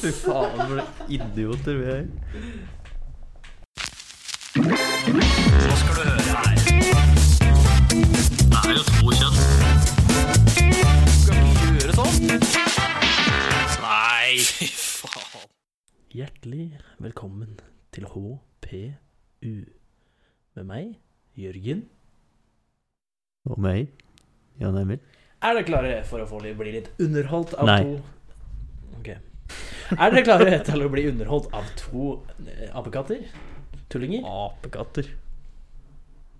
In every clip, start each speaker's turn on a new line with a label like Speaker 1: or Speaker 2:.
Speaker 1: Fy faen, for noen idioter vi er.
Speaker 2: sånn? Nei, fy faen.
Speaker 1: Hjertelig velkommen til HPU. Med meg, Jørgen.
Speaker 3: Og meg, Jan Emil.
Speaker 1: Er dere klare for å få litt, bli litt underholdt av
Speaker 3: Nei.
Speaker 1: to Ok. Er dere klare til å bli underholdt av to eh, apekatter? Tullinger?
Speaker 3: Apekatter.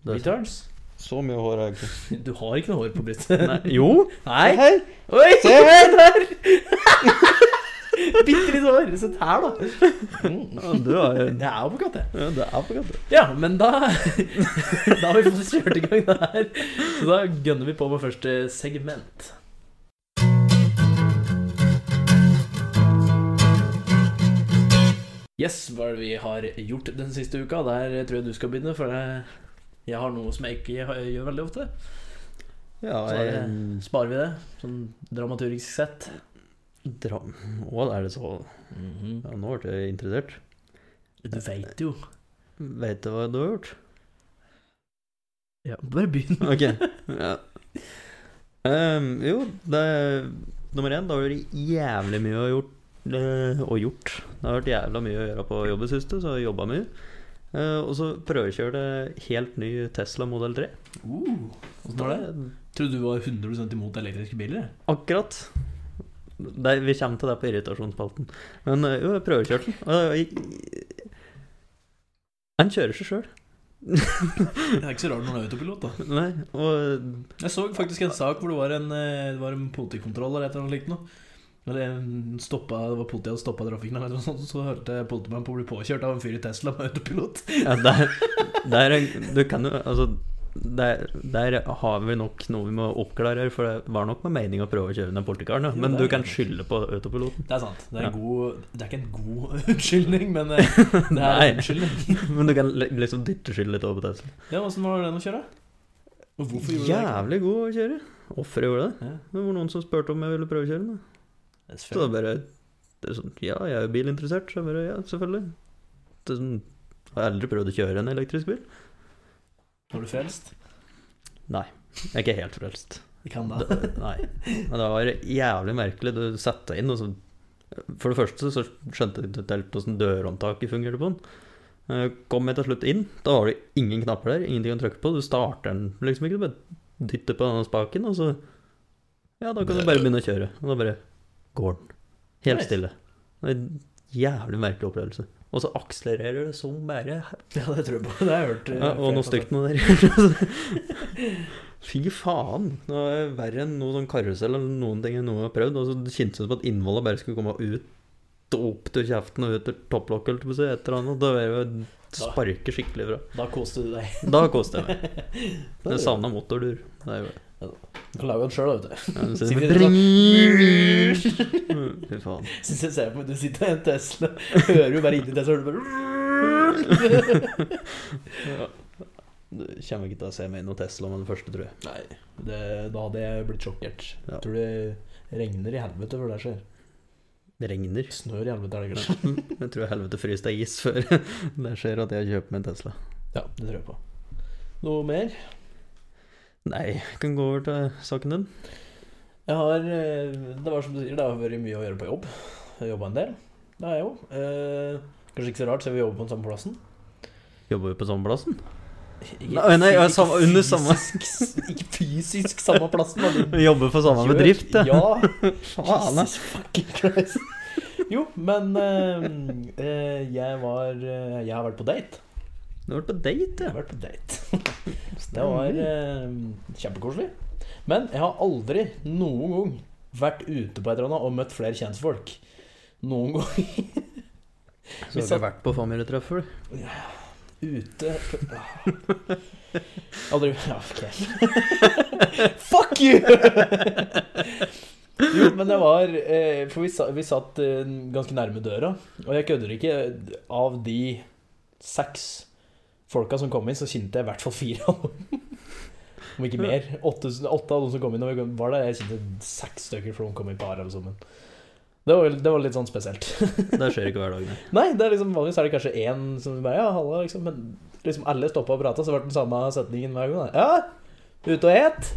Speaker 3: Det er
Speaker 1: Retards?
Speaker 2: Så mye hår har jeg ikke.
Speaker 1: Du har ikke noe hår på brystet.
Speaker 3: Nei, jo!
Speaker 1: Nei.
Speaker 3: Hei!
Speaker 1: Oi, se
Speaker 3: Se her!
Speaker 1: der! Bitte litt hår. Se her, da.
Speaker 3: Ja, du er,
Speaker 1: Det er apekatt, det.
Speaker 3: ja, det er apekatter.
Speaker 1: Ja, men da Da har vi fått kjørt i gang det her. Så da gønner vi på med første segment. Yes, hva er det vi har gjort den siste uka? Der tror jeg du skal begynne, for jeg- jeg har noe som jeg ikke gjør veldig ofte.
Speaker 3: Ja,
Speaker 1: Så er
Speaker 3: jeg
Speaker 1: Sparer vi det, sånn dramaturgisk sett?
Speaker 3: dra... Å, er det så
Speaker 1: Mhm.
Speaker 3: Ja, nå ble jeg interessert.
Speaker 1: Du veit jo.
Speaker 3: Veit du hva du har gjort?
Speaker 1: Ja, bare begynn.
Speaker 3: Ok. Ja. Ehm, jo, det er Nummer én, det har vært jævlig mye å gjort. eh, å gjort. Det har vært jævla mye å gjøre på jobb i det siste, så jeg har jobba mye. Eh, og så prøvekjørte helt ny Tesla modell 3.
Speaker 1: Uh, hvordan var det? Trodde du var 100 imot elektriske biler?
Speaker 3: Akkurat. Det, vi kommer til det på irritasjonsspalten. Men eh, jo, jeg prøvekjørte den. og jeg- Han kjører seg sjøl.
Speaker 1: Det er ikke så rart når du er autopilot, da.
Speaker 3: Nei, og
Speaker 1: Jeg så faktisk en sak hvor det var en, eh, det var en politikontroll eller et eller annet likt noe. Eller en stoppa, det var politiet hadde stoppa trafikken, eller noe sånt, så hørte politimannen på å bli påkjørt av en fyr i Tesla med autopilot.
Speaker 3: Ja, der, der er- du kan jo Altså, der, der har vi nok noe vi må oppklare, her, for det var nok med mening å prøve å kjøre ned politikeren, ja.
Speaker 1: Jo,
Speaker 3: men
Speaker 1: det
Speaker 3: du
Speaker 1: er
Speaker 3: kan
Speaker 1: det.
Speaker 3: skylde på autopiloten.
Speaker 1: Det er sant. Det er, en
Speaker 3: Ja.
Speaker 1: god, det er ikke en god unnskyldning, men eh, det er
Speaker 3: Nei.
Speaker 1: en unnskyldning.
Speaker 3: Men du kan li- liksom dytte skylden litt over på Tesla.
Speaker 1: Ja, Åssen var den å kjøre? Og hvorfor gjorde du det?
Speaker 3: Jævlig god å kjøre. Hvorfor jeg gjorde det?
Speaker 1: Ja.
Speaker 3: Det var noen som spurte om jeg ville prøve å kjøre den. da.
Speaker 1: Det er
Speaker 3: Så da
Speaker 1: selvfølgelig-
Speaker 3: bare det er sånn, Ja, jeg er jo bilinteressert, så jeg bare Ja, selvfølgelig. Det er sånn, jeg har aldri prøvd å kjøre en elektrisk bil.
Speaker 1: Var du frelst?
Speaker 3: Jeg er ikke helt frelst.
Speaker 1: Det kan da.
Speaker 3: Det, nei. Men det var jævlig merkelig. Du satte deg inn, og så For det første så skjønte jeg ikke helt hvordan dørhåndtaket fungerte på den. Eh, Kom jeg til slutt inn, da var det ingen knapper der, ingenting å trykke på. Du starter den liksom ikke, du bare dytter på denne spaken, og så Ja, da kan du bare begynne å kjøre. Og da bare går den. Helt
Speaker 1: Nice.
Speaker 3: stille. Det var en jævlig merkelig opplevelse. Og så akselererer det som bare
Speaker 1: Ja, det tror jeg på. Det har jeg hørt. eh,
Speaker 3: ja, og
Speaker 1: flere
Speaker 3: noe
Speaker 1: folk
Speaker 3: stygt noe der. Fy faen. Det var verre enn noe sånn karusell eller noen ting jeg noe har prøvd. Og så det kjentes det ut som at innholdet bare skulle komme ut og opp til kjeften og ut til topplokket, holdt jeg på å si, et eller annet. Da var jeg jo sparke skikkelig fra.
Speaker 1: sa. Da koste du deg.
Speaker 3: Da koste jeg meg. Jeg savna motordur. Det er jo
Speaker 1: Du kan lage den sjøl, vet du.
Speaker 3: jeg
Speaker 1: Sikkert
Speaker 3: synes-
Speaker 1: litt
Speaker 3: sånn- Fy faen.
Speaker 1: Syns jeg ser på Du sitter i en Tesla, hører jo bare inni Tesla, og du bare
Speaker 3: Ja. Du kommer ikke til å se meg i noe Tesla med den første, tror jeg.
Speaker 1: Nei, det, da hadde jeg blitt sjokkert.
Speaker 3: Ja.
Speaker 1: Tror det regner i helvete før det skjer.
Speaker 3: Det regner.
Speaker 1: Snør i helvete er det kanskje.
Speaker 3: Jeg tror helvete fryser deg is før det skjer at jeg kjøper meg en Tesla.
Speaker 1: Ja, det tror jeg på. Noe mer?
Speaker 3: Nei, jeg kan gå over til saken din.
Speaker 1: Jeg har eh, Det var som du sier, det har vært mye å gjøre på jobb. Jeg har jobba en del. Det har jeg jo. Eh, kanskje ikke så rart, siden vi jobber på den samme plassen.
Speaker 3: Jobber vi på samme plassen?
Speaker 1: Ikke-
Speaker 3: Nei, nei, ja, samme- under samme-
Speaker 1: fysisk, Ikke fysisk samme plassen, men
Speaker 3: Vi jobber for samme
Speaker 1: Kjør-
Speaker 3: bedrift, ja.
Speaker 1: Ja,
Speaker 3: Faen, ass.
Speaker 1: Jesus fucking Christ. Jo, men eh, eh, jeg var eh, Jeg har vært på date.
Speaker 3: Du har vært på date,
Speaker 1: Jeg har
Speaker 3: ja.
Speaker 1: vært på date. Det var eh, kjempekoselig. Men jeg har aldri noen gang vært ute på et eller annet og møtt flere kjentfolk. Noen gang
Speaker 3: Så har
Speaker 1: satt-
Speaker 3: du vært på familietreff, du.
Speaker 1: ute Aldri Ja, ok. Fuck you! Jo, men det var eh, For vi, sa, vi satt eh, ganske nærme døra, og jeg kødder ikke. Av de seks folka som kom inn, så kjente jeg i hvert fall fire av dem. Om ikke mer. Åtte, åtte av dem som kom inn, og vi kom- var der, jeg kjente seks stykker, for de kom inn på Arab sammen. Det var, det var litt sånn spesielt.
Speaker 3: Det skjer ikke hver dag, nei.
Speaker 1: Nei, det er liksom, vanligvis er det kanskje én som bare Ja, halla, liksom. Men liksom alle stoppa og prata, så ble det den samme setningen hver gang. da. Ja, ute og et.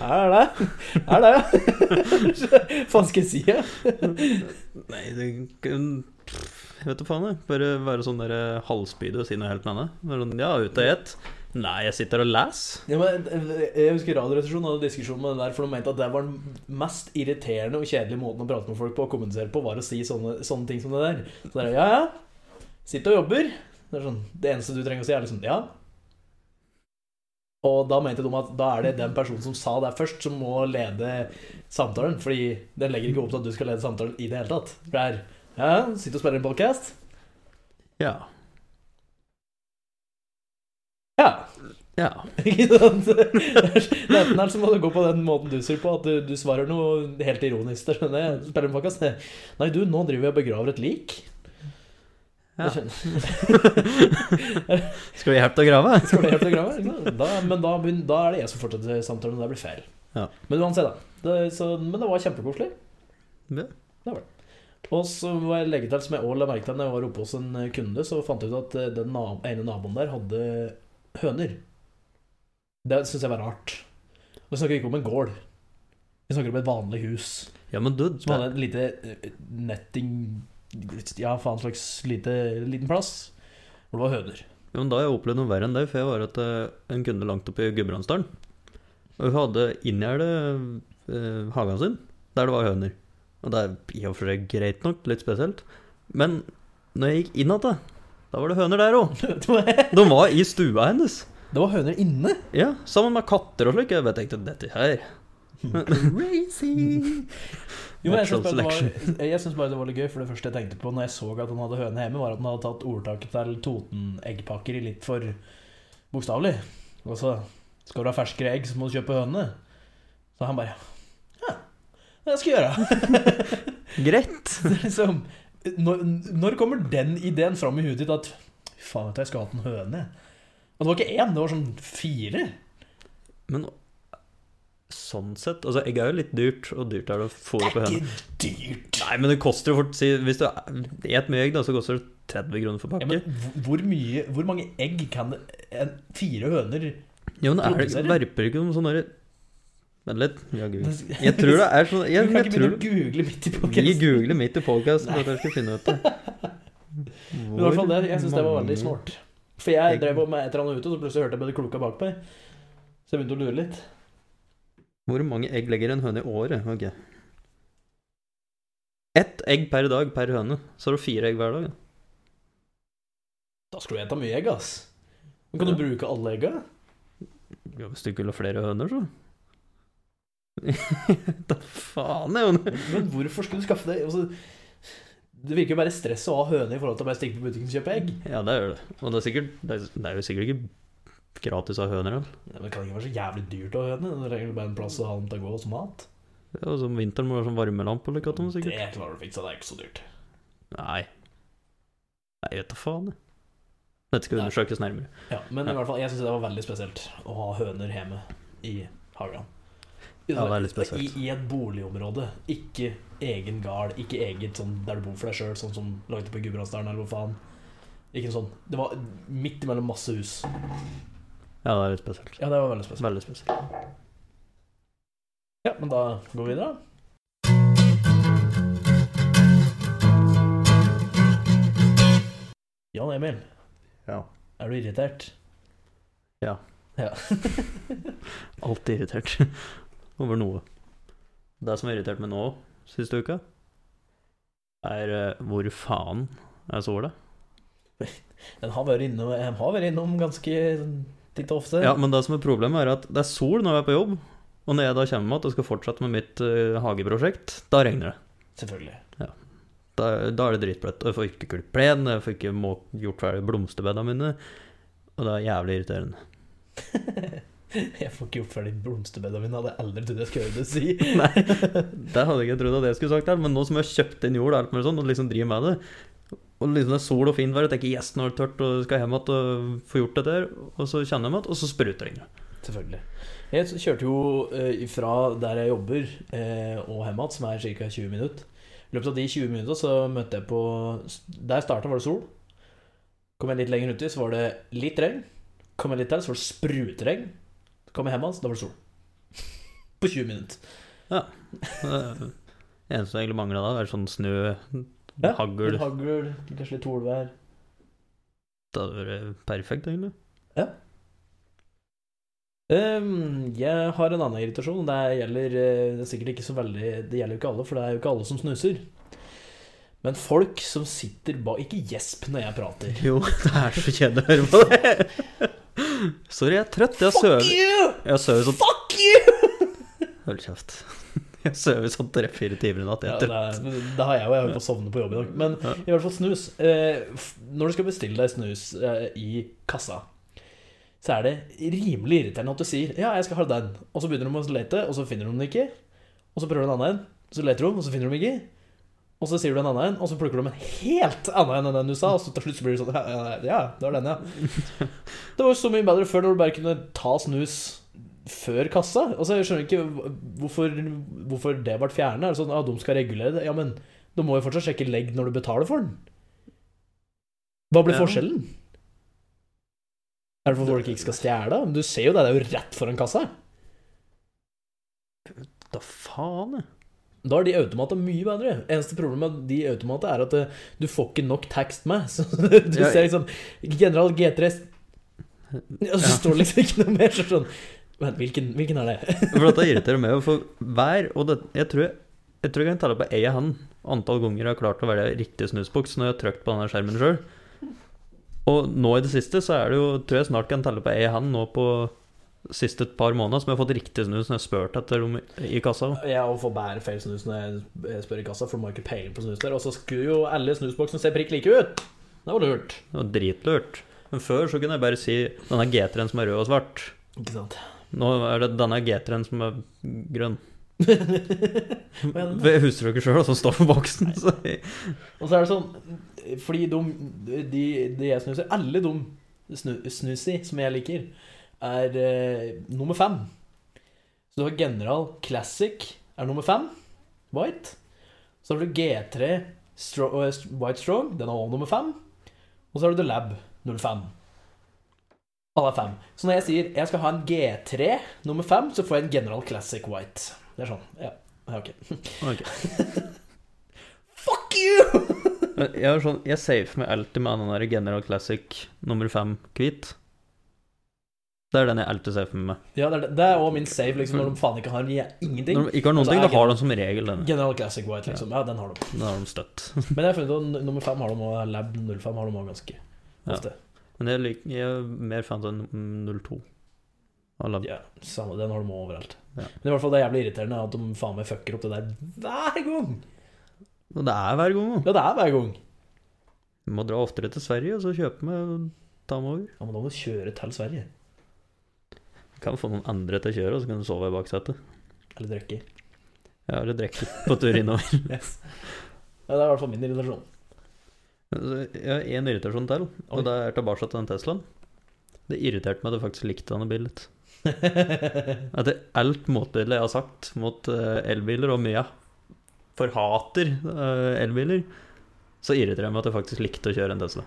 Speaker 1: Her er det. Her er det. Faen skal jeg si? Ja?
Speaker 3: Nei, det kun- pff, Jeg vet da faen, jeg. Bare være sånn der halvspydig og si noe helt annet. Bare sånn, ja, ut og et. Nei, jeg sitter og leser.
Speaker 1: Ja, men eh, jeg husker Radioresepsjonen hadde diskusjon med den der, for de mente at det var den mest irriterende og kjedelige måten å prate med folk på og kommunisere på, var å si sånne, sånne ting som det der. Så det er ja, ja, sitt og jobber. Det, er sånn, det eneste du trenger å si, er liksom ja. Og da mente de at da er det den personen som sa det først, som må lede samtalen. Fordi den legger ikke opp til at du skal lede samtalen i det hele tatt. For det er ja, ja, sitt og spiller en podcast.
Speaker 3: Ja.
Speaker 1: Ja.
Speaker 3: Ja.
Speaker 1: Ikke sant? Det er- det er Enten her så må du gå på den måten du sier på, at du, du svarer noe helt ironisk. Det skjønner jeg. Spiller en podcast. Nei, du, nå driver jeg og begraver et lik.
Speaker 3: ja.
Speaker 1: Det skjønner-
Speaker 3: Skal vi hjelpe til å grave?
Speaker 1: Skal du hjelpe til å grave? Ikke sant? Da, men da, begyn- da er det jeg som fortsetter samtalen, og det blir feil.
Speaker 3: Ja.
Speaker 1: Men uansett, da. Det, så, men det var kjempekoselig.
Speaker 3: Ja.
Speaker 1: Det var det. Og så må jeg legge til, som jeg også la merke til når jeg var oppe hos en eh, kunde, så fant jeg ut at eh, den na- ene naboen der hadde høner. Det syns jeg var rart. Og vi snakker ikke om en gård. Vi snakker om et vanlig hus
Speaker 3: Ja, men du, det,
Speaker 1: som hadde et lite eh, netting Ja, faen slags lite, liten plass hvor det var høner.
Speaker 3: ja, men da har jeg opplevd noe verre enn det, for jeg var etter en kunde langt oppe i Gudbrandsdalen. Og hun hadde inngjerdet eh, hagen sin, der det var høner. Og det er i og for seg greit nok, litt spesielt. Men når jeg gikk inn igjen, da, da var det høner der òg.
Speaker 1: det
Speaker 3: De var i stua hennes.
Speaker 1: var høner inne!
Speaker 3: Ja, sammen med katter og slik. Jeg bare tenkte dette her Crazy!
Speaker 1: Jo, men jeg
Speaker 3: Natural
Speaker 1: syns bare, det var- jeg synes bare det var litt gøy, for det første jeg tenkte på når jeg så at han hadde høne hjemme, var at han hadde tatt ordtaket til Toten-eggpakker i litt for bokstavelig. Og så Skal du ha ferskere egg, så må du kjøpe høne. Så han bare Ja, det skal jeg gjøre.
Speaker 3: Greit.
Speaker 1: Det er liksom når, når kommer den ideen fram i huet ditt at Fy faen, vet du, jeg skulle hatt en høne? Og det var ikke én, det var sånn fire.
Speaker 3: Men sånn sett Altså, egg er jo litt dyrt, og dyrt er det å fôre på høna.
Speaker 1: ikke dyrt.
Speaker 3: Nei, men det koster jo fort si, Hvis du et mye egg, da, så koster det 30 kroner for
Speaker 1: Ja,
Speaker 3: pakke.
Speaker 1: men hvor- hvor, mye, hvor mange egg kan en, fire høner
Speaker 3: jo, men er det
Speaker 1: produserer.
Speaker 3: verper ikke noen sånne derre Vent litt. Jaggu. Jeg tror det er sånn jeg,
Speaker 1: Du kan
Speaker 3: jeg
Speaker 1: ikke
Speaker 3: tror,
Speaker 1: begynne å google midt i
Speaker 3: Vi
Speaker 1: podkasten.
Speaker 3: googler midt i podkast for at dere skal finne ut det.
Speaker 1: I hvert fall det, jeg syns det var veldig
Speaker 3: mange-
Speaker 1: snålt. For jeg drev med et eller annet ute, og så plutselig hørte jeg bare klokka bak meg. Så jeg begynte å lure litt.
Speaker 3: Hvor mange egg legger en høne i året? Ok. Ett egg per dag per høne. Så har du fire egg hver dag. da.
Speaker 1: Da skulle du ete mye egg, ass. Men kan du bruke alle egga?
Speaker 3: Ja, hvis du ikke vil ha flere høner, så. da faen, jeg, Jon.
Speaker 1: Men hvorfor skulle du skaffe deg altså, Det virker jo bare stress å ha høne i forhold til å bare stikke på butikken og kjøpe egg.
Speaker 3: Ja, det gjør det. Og det er, sikkert, det er- det er jo sikkert ikke gratis å ha høner. da.
Speaker 1: Nei, men Det kan ikke være så jævlig dyrt å ha høne. Det er egentlig bare en plass å ha dem til å gå som mat.
Speaker 3: Ja, og så om vinteren må du ha sånn varmelampe eller hva det er, sikkert.
Speaker 1: Det klarer du å fikse, det er ikke så dyrt.
Speaker 3: Nei. Nei, vet da faen. jeg. Dette skal
Speaker 1: Nei.
Speaker 3: undersøkes nærmere.
Speaker 1: Ja, men i hvert fall, jeg syns det var veldig spesielt å ha høner hjemme i hagen. Altså,
Speaker 3: Ja, det er litt spesielt.
Speaker 1: I, I et boligområde. Ikke egen gard, ikke eget sånn der du bor for deg sjøl, sånn som lagde på Gudbrandsdalen eller hvor faen. Ikke en sånn. Det var midt imellom masse hus.
Speaker 3: Ja, det er litt spesielt. altså.
Speaker 1: Ja, det var veldig spesielt.
Speaker 3: Veldig spesielt.
Speaker 1: Ja, men da går vi videre. Jan Emil,
Speaker 3: Ja.
Speaker 1: er du irritert?
Speaker 3: Ja.
Speaker 1: Ja.
Speaker 3: Alltid irritert over noe. Det som har irritert meg nå siste uka, er eh, hvor faen jeg så det.
Speaker 1: Den har vært innom, jeg har vært innom ganske titt og ofte.
Speaker 3: Ja, Men det som er problemet, er at det er sol når jeg er på jobb. Og når jeg da kommer med at jeg skal fortsette med mitt eh, hageprosjekt, da regner det.
Speaker 1: Selvfølgelig.
Speaker 3: Da, da er det dritbløtt. Og jeg får ikke klippet plen, jeg får ikke må, gjort ferdig blomsterbedene mine. Og det er jævlig irriterende.
Speaker 1: Jeg får ikke gjort ferdig blomsterbedene mine, hadde jeg aldri trodd jeg skulle høre det si.
Speaker 3: Nei, det hadde jeg ikke trodd at jeg skulle sagt her, men nå som jeg har kjøpt inn jord og alt mulig sånn, og liksom driver med det, og liksom det er sol og fint vær, jeg tenker yes, nå er det tørt, og skal hjem igjen og få gjort dette her, og så kjenner jeg meg igjen, og så spruter det inn.
Speaker 1: Selvfølgelig. Jeg s- kjørte jo eh, fra der jeg jobber eh, og hjem igjen, som er ca. 20 minutter. I løpet av de 20 minuttene så møtte jeg på Der jeg starta, var det sol. Kom jeg litt lenger uti, så var det litt regn. Kom jeg litt der, så var det sprutregn. Så kom jeg hjem igjen, så da var det sol. På 20 minutter.
Speaker 3: Det eneste som egentlig mangler da, er sånn snø,
Speaker 1: Ja,
Speaker 3: hagl.
Speaker 1: Litt hagl, kanskje litt solvær.
Speaker 3: Det hadde vært perfekt, egentlig.
Speaker 1: Ehm, jeg har en annen irritasjon. Det gjelder eh, det er sikkert ikke så veldig Det gjelder jo ikke alle, for det er jo ikke alle som snuser. Men folk som sitter bak Ikke gjesp når jeg prater.
Speaker 3: Jo, det er så kjedelig å høre på det. Sorry, jeg er trøtt. Jeg
Speaker 1: Fuck
Speaker 3: sover
Speaker 1: you!
Speaker 3: Jeg sover sånn
Speaker 1: Fuck you!
Speaker 3: Hold kjeft. Jeg sover sånn tre-fire timer i natt.
Speaker 1: Ja,
Speaker 3: Jeg er
Speaker 1: det,
Speaker 3: trøtt.
Speaker 1: er- det har jeg jo. Jeg holdt på å sovne på jobb i dag. Men
Speaker 3: Ja.
Speaker 1: i hvert fall snus. Eh, f- når du skal bestille deg snus eh, i kassa, så er det rimelig irriterende at du sier 'ja, jeg skal ha den', og så begynner de å lete, og så finner de den ikke. Og så prøver du en annen en, så leter de, og så finner de den ikke. Og så sier du en annen en, og så plukker de en helt annen en enn den du sa, og så til slutt så blir det sånn Ja, ja, ja, det var den, ja. Det var jo så mye bedre før, når du bare kunne ta snus før kassa. Altså, Jeg skjønner ikke hvorfor, hvorfor det ble fjernet. Er det sånn, ja, de skal regulere det? Ja, men du må jo fortsatt sjekke legg når du betaler for den. Hva blir
Speaker 3: Ja.
Speaker 1: forskjellen? Er det for folk ikke skal stjele? Men du ser jo det, det er jo rett foran kassa.
Speaker 3: Da faen, jeg.
Speaker 1: Da er de automatene mye bedre. Eneste problemet med de automatene er at eh, du får ikke nok tekst med. Så du
Speaker 3: Ja,
Speaker 1: ser liksom General G3 Og så
Speaker 3: Ja.
Speaker 1: står det liksom ikke noe mer. Så sånn Vent, hvilken, hvilken er det?
Speaker 3: For dette irriterer meg. For hver og det, jeg, tror jeg, jeg tror jeg kan telle på ei hånd antall ganger jeg har klart å velge riktig snusboks når jeg har trykt på denne skjermen sjøl. Og nå i det siste så er det jo Tror jeg snart kan telle på ei hånd nå på siste et par måneder som jeg har fått riktig snus når jeg har spurt etter dem i kassa.
Speaker 1: Jeg og får bare feil snus når jeg spør i kassa, for de har ikke peiling på snus der. Og så skulle jo alle snusboksene se prikk like ut. Det var lurt.
Speaker 3: Det var dritlurt. Men før så kunne jeg bare si denne G3-en som er rød og svart.
Speaker 1: Ikke sant?
Speaker 3: Nå er det denne G3-en som er grønn.
Speaker 1: er det
Speaker 3: Jeg husker jo ikke sjøl hva som står på boksen. Så jeg,
Speaker 1: Og så er det sånn Fordi de, de, de jeg snuser Alle de snu, snusi som jeg liker Er eh, nummer fem Så du har General Classic Er nummer fem White Så har du G3 Stro- eh, St- White Strong Den er også nummer fem Og så har du The Lab 05 Alle er fem Så når jeg sier Jeg skal ha en G3 Nummer fem Så får jeg en General Classic White Det er sånn Ja, ja, ok
Speaker 3: Ok.
Speaker 1: Fuck you!
Speaker 3: jeg, er sånn, jeg safer meg alltid med den der General Classic nummer fem hvit. Det er den jeg alltid safer meg med.
Speaker 1: Ja, det er, det er også min save, liksom, når de faen ikke har mye, ingenting.
Speaker 3: Når de ikke har noen
Speaker 1: Altså,
Speaker 3: ting,
Speaker 1: er
Speaker 3: da har de som regel den.
Speaker 1: General Classic White, liksom. Ja, den har de.
Speaker 3: Den har de støtt.
Speaker 1: Men jeg har funnet ut at nummer fem har de også, Lab 05 har de også ganske
Speaker 3: Ja.
Speaker 1: ofte.
Speaker 3: Men jeg, liker, jeg er mer fan av den 02. Av
Speaker 1: Ja.
Speaker 3: lab-
Speaker 1: samme, den har de også overalt.
Speaker 3: Ja.
Speaker 1: Men i hvert fall det er jævlig irriterende at de faen meg fucker opp det der hver gang.
Speaker 3: Og det er hver gang. da.
Speaker 1: Ja, det er hver gang.
Speaker 3: Vi må dra oftere til Sverige og så kjøpe med og ta med over.
Speaker 1: Ja, men da må du kjøre til Sverige.
Speaker 3: Kan få noen andre til å kjøre, og så kan du sove i baksetet.
Speaker 1: Eller drikke.
Speaker 3: Jeg har litt drikke på tur innover.
Speaker 1: Yes. Ja, det er i hvert fall min irritasjon.
Speaker 3: Så altså, Jeg har én irritasjon til,
Speaker 1: Oi.
Speaker 3: og det er tilbake til den Teslaen. Det irriterte meg at jeg faktisk likte denne bilen litt. Etter alt motbildet jeg har sagt mot eh, elbiler, og mye jeg forhater eh, elbiler, så irriterer jeg meg at jeg faktisk likte å kjøre en Tesla.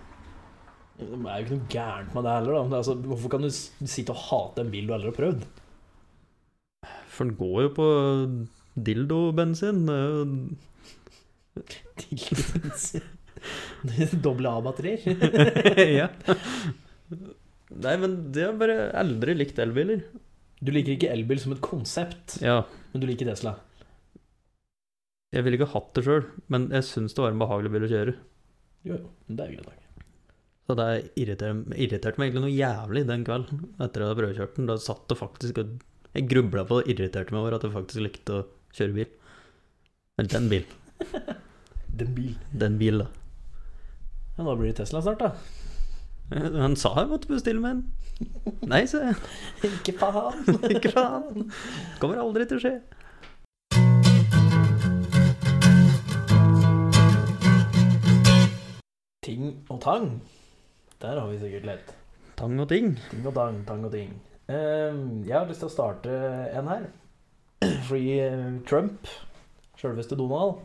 Speaker 1: Det er jo ikke noe gærent med det heller, da. Men Altså, hvorfor kan du s- sitte og hate en bil du aldri har prøvd?
Speaker 3: For den går jo på dildobensin. eh, det er jo-
Speaker 1: Doble A-batterier.
Speaker 3: ja. Nei, men det har bare aldri likt elbiler.
Speaker 1: Du liker ikke elbil som et konsept,
Speaker 3: Ja.
Speaker 1: men du liker Tesla.
Speaker 3: Jeg ville ikke hatt det sjøl, men jeg syns det var en behagelig bil å kjøre.
Speaker 1: Jo, jo, men det er greit nok.
Speaker 3: Så det irriterte, irriterte meg egentlig noe jævlig den kvelden etter at jeg hadde prøvekjørt den. Da satt det faktisk og Jeg grubla på det og irriterte meg over at jeg faktisk likte å kjøre bil. Eller den bil.
Speaker 1: Den bil.
Speaker 3: Den bil, da.
Speaker 1: Ja, da blir det Tesla snart, da.
Speaker 3: Han sa jeg måtte bestille meg en. Nei, sa jeg.
Speaker 1: Ikke faen.
Speaker 3: Ikke faen. Kommer aldri til å skje.
Speaker 1: Ting og tang. Der har vi sikkert lett.
Speaker 3: Tang og ting.
Speaker 1: Ting og tang, tang og ting. Ehm, Jeg har lyst til å starte en her. Fordi eh, Trump, selveste Donald,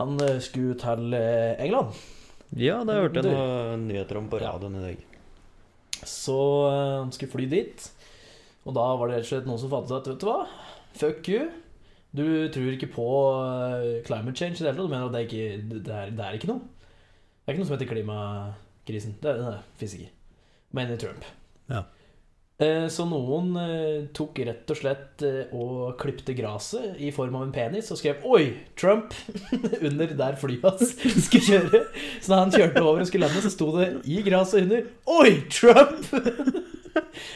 Speaker 1: han eh, skulle til eh, England.
Speaker 3: Ja, det hørte
Speaker 1: Du-
Speaker 3: jeg noen nyheter om på
Speaker 1: Ja.
Speaker 3: radioen i dag.
Speaker 1: Så eh, han skulle fly dit. Og da var det rett og slett noen som fant ut at vet du hva, fuck you. Du tror ikke på eh, climate change i det hele tatt. Du mener at det er ikke det er, det er ikke noe. Det er ikke noe som heter klimakrisen. Det, det fins ikke. Mener Trump.
Speaker 3: Ja.
Speaker 1: Eh, Så noen eh, tok rett og slett eh, og klipte gresset i form av en penis og skrev 'Oi, Trump!' under der flyet hans skulle kjøre. Så da han kjørte over og skulle lande, så sto det i gresset under 'Oi, Trump!'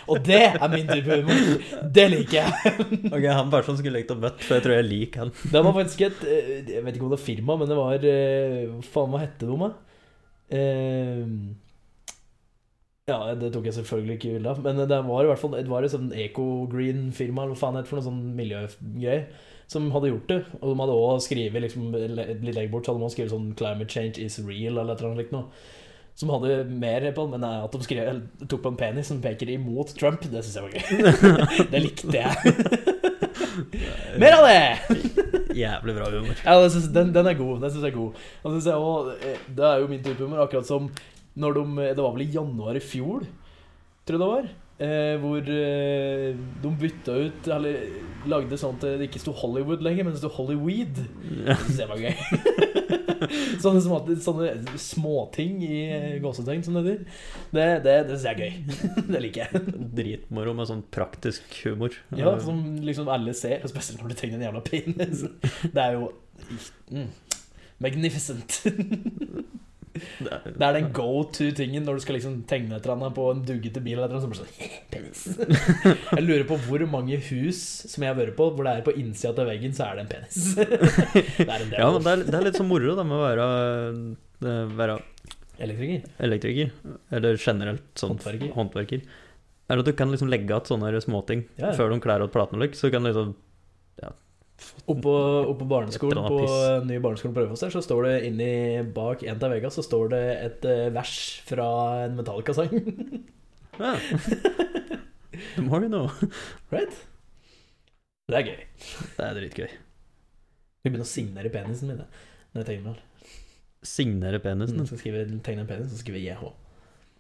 Speaker 1: Og det er min type humor. Det liker jeg.
Speaker 3: Ok, Han personen skulle jeg likt å møtt, for jeg tror jeg liker han.
Speaker 1: Det var faktisk et eh, Jeg vet ikke om det var firma, men det var eh, hva Faen, hva hette de, da? Eh, Ja, det tok jeg selvfølgelig ikke bilde av, men det var i hvert fall Det var et sånn Eco-Green-firma, eller hva faen det heter, for noe sånn miljøgreier, som hadde gjort det. Og de hadde også skrevet liksom, litt lenger bort, så hadde man skrevet sånn 'Climate change is real', eller et eller annet likt noe. Som hadde mer på den, men eh, at de skrev, eller, tok på en penis som peker imot Trump, det syns jeg var gøy. det likte jeg. mer av det!
Speaker 3: Jævlig bra humor.
Speaker 1: Ja, jeg synes, den, den er god. Den synes jeg er god. Og så synes jeg, også, eh, det er jo min type humor, akkurat som når de eh, Det var vel i januar i fjor, tror jeg det var, eh, hvor eh, de bytta ut Eller lagde sånn at det ikke sto Hollywood lenger, men det sto Hollyweed.
Speaker 3: Ja.
Speaker 1: Det synes jeg var gøy. sånne, små, sånne småting i eh, gåsetegn, som det heter. Det, det, det syns jeg er gøy. det liker jeg.
Speaker 3: Dritmoro med sånn praktisk humor. Eh,
Speaker 1: Ja, Som liksom alle ser, og spesielt når du trenger en jævla penis. Det er jo mm, magnificent.
Speaker 3: det er,
Speaker 1: Det er den go to-tingen når du skal liksom tegne et eller annet på en duggete bil. eller et eller annet, så blir det sånn, penis. Jeg lurer på hvor mange hus som jeg har vært på, hvor det er på innsida av veggen, så er det en penis. Det er en del
Speaker 3: ja, men det er, det er litt sånn moro da med å være, eh, være
Speaker 1: elektriker.
Speaker 3: elektriker, eller generelt sånn
Speaker 1: Håndverker.
Speaker 3: håndverker. Er at du kan liksom legge igjen sånne her småting
Speaker 1: Ja, ja.
Speaker 3: før de klær ut platene liksom, så kan du liksom
Speaker 1: Oppå, oppå
Speaker 3: Et
Speaker 1: barneskolen
Speaker 3: eller
Speaker 1: på
Speaker 3: annet piss.
Speaker 1: ny barneskolen på Raufoss der, så står det inni bak en av veggene så står det et eh, vers fra en Metallica-sang.
Speaker 3: ja. The more you know.
Speaker 1: Det er gøy.
Speaker 3: Det er dritgøy.
Speaker 1: Vi begynner å signere penisen min. jeg, Når jeg tegner den.
Speaker 3: Signere
Speaker 1: Hvis
Speaker 3: penisen.
Speaker 1: jeg skal skrive, tegne en penis, så skriver jeg JH.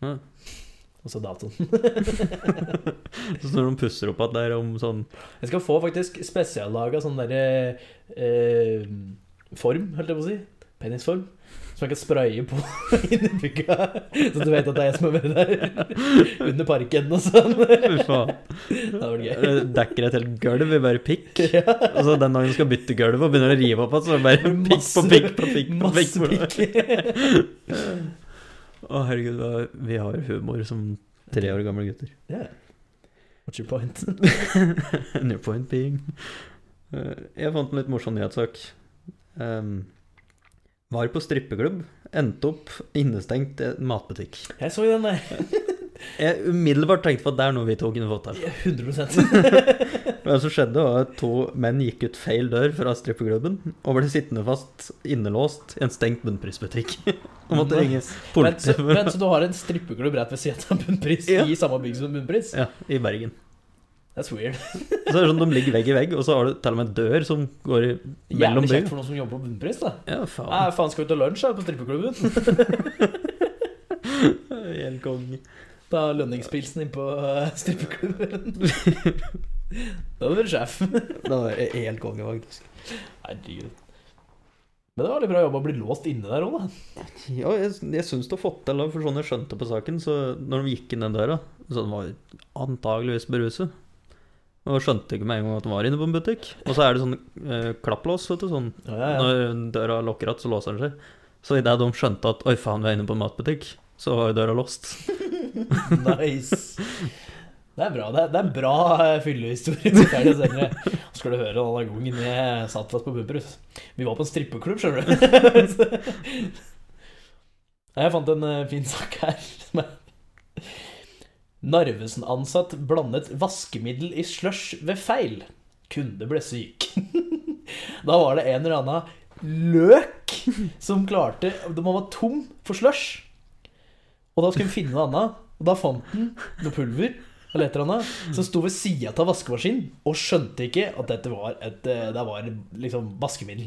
Speaker 3: Ja.
Speaker 1: Og så datoen.
Speaker 3: Så når de pusser opp at det er om sånn
Speaker 1: Jeg skal få faktisk spesiallaga sånn derre eh, form, holdt jeg på å si. Penisform. Som jeg kan spraye på inni bygga. Så du vet at det er jeg som har vært der. Under parken og sånn.
Speaker 3: Fy faen.
Speaker 1: Det hadde vært gøy.
Speaker 3: Det eh, Dekker et helt gulv i bare pikk.
Speaker 1: Ja.
Speaker 3: Og så den dagen du skal bytte gulv og begynner å rive opp igjen, så er det bare pikk på
Speaker 1: Masse-
Speaker 3: pikk på pikk. på pikk,
Speaker 1: Masse
Speaker 3: på pikk.
Speaker 1: pikk.
Speaker 3: Å, herregud, hva- vi har humor som tre år gamle gutter.
Speaker 1: Ja. What's your point?
Speaker 3: New point being. Eh, Jeg fant en litt morsom nyhetssak. Em, var på strippeklubb, endte opp innestengt i en matbutikk.
Speaker 1: Jeg så jo den eh, der.
Speaker 3: Jeg umiddelbart tenkte på at det er noe vi to kunne fått til.
Speaker 1: 100
Speaker 3: Men Det som skjedde, var at to menn gikk ut feil dør fra strippeklubben og ble sittende fast innelåst i en stengt bunnprisbutikk. Og måtte ringe
Speaker 1: Vent, så,
Speaker 3: politiet. for-
Speaker 1: vent, så du har en strippeklubb rett ved siden av Bunnpris?
Speaker 3: Ja.
Speaker 1: I samme bygg som Bunnpris?
Speaker 3: Ja, i Bergen.
Speaker 1: That's weird.
Speaker 3: Så er det sånn, De ligger vegg i vegg, og så har du til og med en dør som går i, mellom
Speaker 1: Jævlig
Speaker 3: bygg.
Speaker 1: kjekt for noen som jobber på Bunnpris, da.
Speaker 3: Ja,
Speaker 1: Nei,
Speaker 3: faen.
Speaker 1: faen, skal vi til lunsj her på strippeklubben?
Speaker 3: Helt konge.
Speaker 1: Ta lønningspilsen inn på eh, strippeklubben. Da hadde du vært sjef.
Speaker 3: Det var helt konge, faktisk.
Speaker 1: Herregud. Men det var litt bra jobba å bli låst inne der òg, da.
Speaker 3: Ja, jeg, jeg syns du har fått til det, for sånn jeg skjønte på saken, så når de gikk inn den døra, så den var antageligvis beruset. Og jeg skjønte ikke med en gang at den var inne på en butikk. Og så er det sånn eh, klapplås, vet du, sånn
Speaker 1: Ja, ja, ja.
Speaker 3: når døra lukker igjen, så låser den seg. Så idet de skjønte at oi faen, vi er inne på en matbutikk, så var jo døra låst.
Speaker 1: Nice. Det er bra. Det er, det er en bra eh, fyllehistorie. Det er det senere. Så skal du høre denne gangen jeg satt fast på Bumperus. Vi var på en strippeklubb, skjønner du. Nei, Jeg fant en eh, fin sak her. som er Narvesen-ansatt blandet vaskemiddel i slush ved feil. Kunde ble syk. Da var det en eller annen løk som klarte Den var tom for slush. Og da skulle hun finne noe annet. Og da fant den noe pulver eller et eller annet, som sto ved sida av vaskemaskinen og skjønte ikke at dette var et eh, Det var liksom vaskemiddel.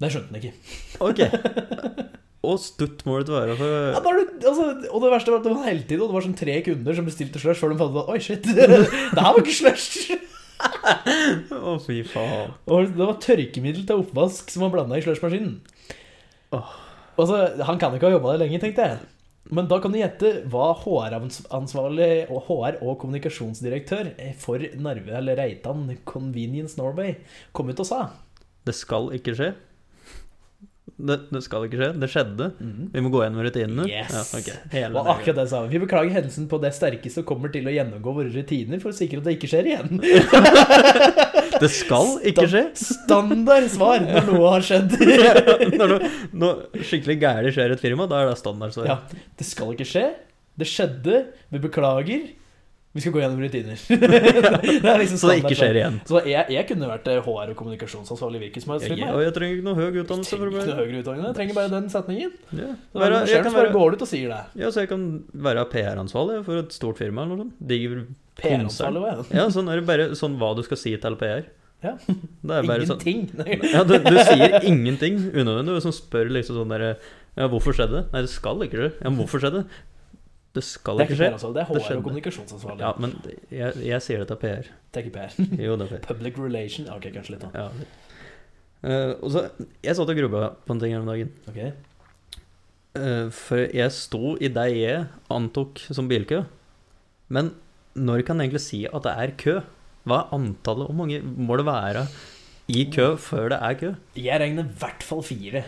Speaker 1: Det skjønte han ikke.
Speaker 3: Ok. Og stutt må det være
Speaker 1: Ja,
Speaker 3: for
Speaker 1: da er du, altså, og det verste var at det var hele tiden, og det var sånn tre kunder som bestilte slush før de fant ut at oi, shit, det her var ikke slush.
Speaker 3: Å, fy faen.
Speaker 1: Og det var tørkemiddel til oppvask som var blanda i slushmaskinen.
Speaker 3: Åh.
Speaker 1: Altså, han kan ikke ha jobba der lenge, tenkte jeg. Men da kan du gjette hva HR-ansvarlig og HR- og kommunikasjonsdirektør for Narve, eller Reitan Convenience Norway kom ut og sa.
Speaker 3: Det skal ikke skje. Det, det skal ikke skje. Det skjedde. Vi må gå gjennom rutinene.
Speaker 1: Yes.
Speaker 3: Ja, ok. Hele
Speaker 1: Og akkurat det sa vi. Vi beklager hendelsen på det sterkeste og kommer til å gjennomgå våre rutiner for å sikre at det ikke skjer igjen.
Speaker 3: det. det skal ikke skje.
Speaker 1: Standard svar når noe har skjedd.
Speaker 3: Når noe, noe skikkelig gærent skjer i et firma, da er det standardsvar.
Speaker 1: Ja. Det skal ikke skje. Det skjedde. Vi beklager. Vi skal gå gjennom rutiner. det er liksom
Speaker 3: Så det ikke
Speaker 1: standard.
Speaker 3: skjer igjen.
Speaker 1: Så jeg, jeg kunne vært eh, HR- og kommunikasjonsansvarlig i hvilket som helst
Speaker 3: Jeg, sånn
Speaker 1: firma.
Speaker 3: og jeg trenger ikke noe høy
Speaker 1: Jeg
Speaker 3: utdannelse for
Speaker 1: trenger
Speaker 3: å
Speaker 1: ikke noe
Speaker 3: bli
Speaker 1: høyere utdanning. Jeg trenger bare den setningen.
Speaker 3: ja.
Speaker 1: Så
Speaker 3: Være, jeg,
Speaker 1: sjef
Speaker 3: kan
Speaker 1: bare
Speaker 3: være,
Speaker 1: går ut og sier det.
Speaker 3: ja, så jeg kan være PR-ansvarlig for et stort firma eller noe sånt. Diger
Speaker 1: PR-ansvarlig var jeg.
Speaker 3: Ja, sånn er det bare sånn hva du skal si til PR.
Speaker 1: Ja.
Speaker 3: Det er bare sånn
Speaker 1: Ingenting. Nei.
Speaker 3: Ja, du, du sier ingenting unødvendig som spør liksom sånn derre Ja, hvorfor skjedde det? Nei, det skal ikke skje. Ja, men hvorfor skjedde det? Det skal
Speaker 1: Det er
Speaker 3: ikke
Speaker 1: ikke
Speaker 3: skje.
Speaker 1: PR-ansvarlig, det er
Speaker 3: Det
Speaker 1: HR-
Speaker 3: skjedde.
Speaker 1: og kommunikasjonsansvarlig.
Speaker 3: Ja, men jeg, jeg sier det til PR.
Speaker 1: Det er ikke PR.
Speaker 3: Jo, det er PR.
Speaker 1: Public relation. Ok, kanskje litt, da.
Speaker 3: Ja. Eh, og så, jeg satt og grubba på en ting her om dagen.
Speaker 1: Ok.
Speaker 3: Eh, for jeg sto i det jeg antok som bilkø. Men når kan jeg egentlig si at det er kø? Hva er antallet? Hvor mange må det være i kø før det er kø?
Speaker 1: Jeg regner i hvert fall fire.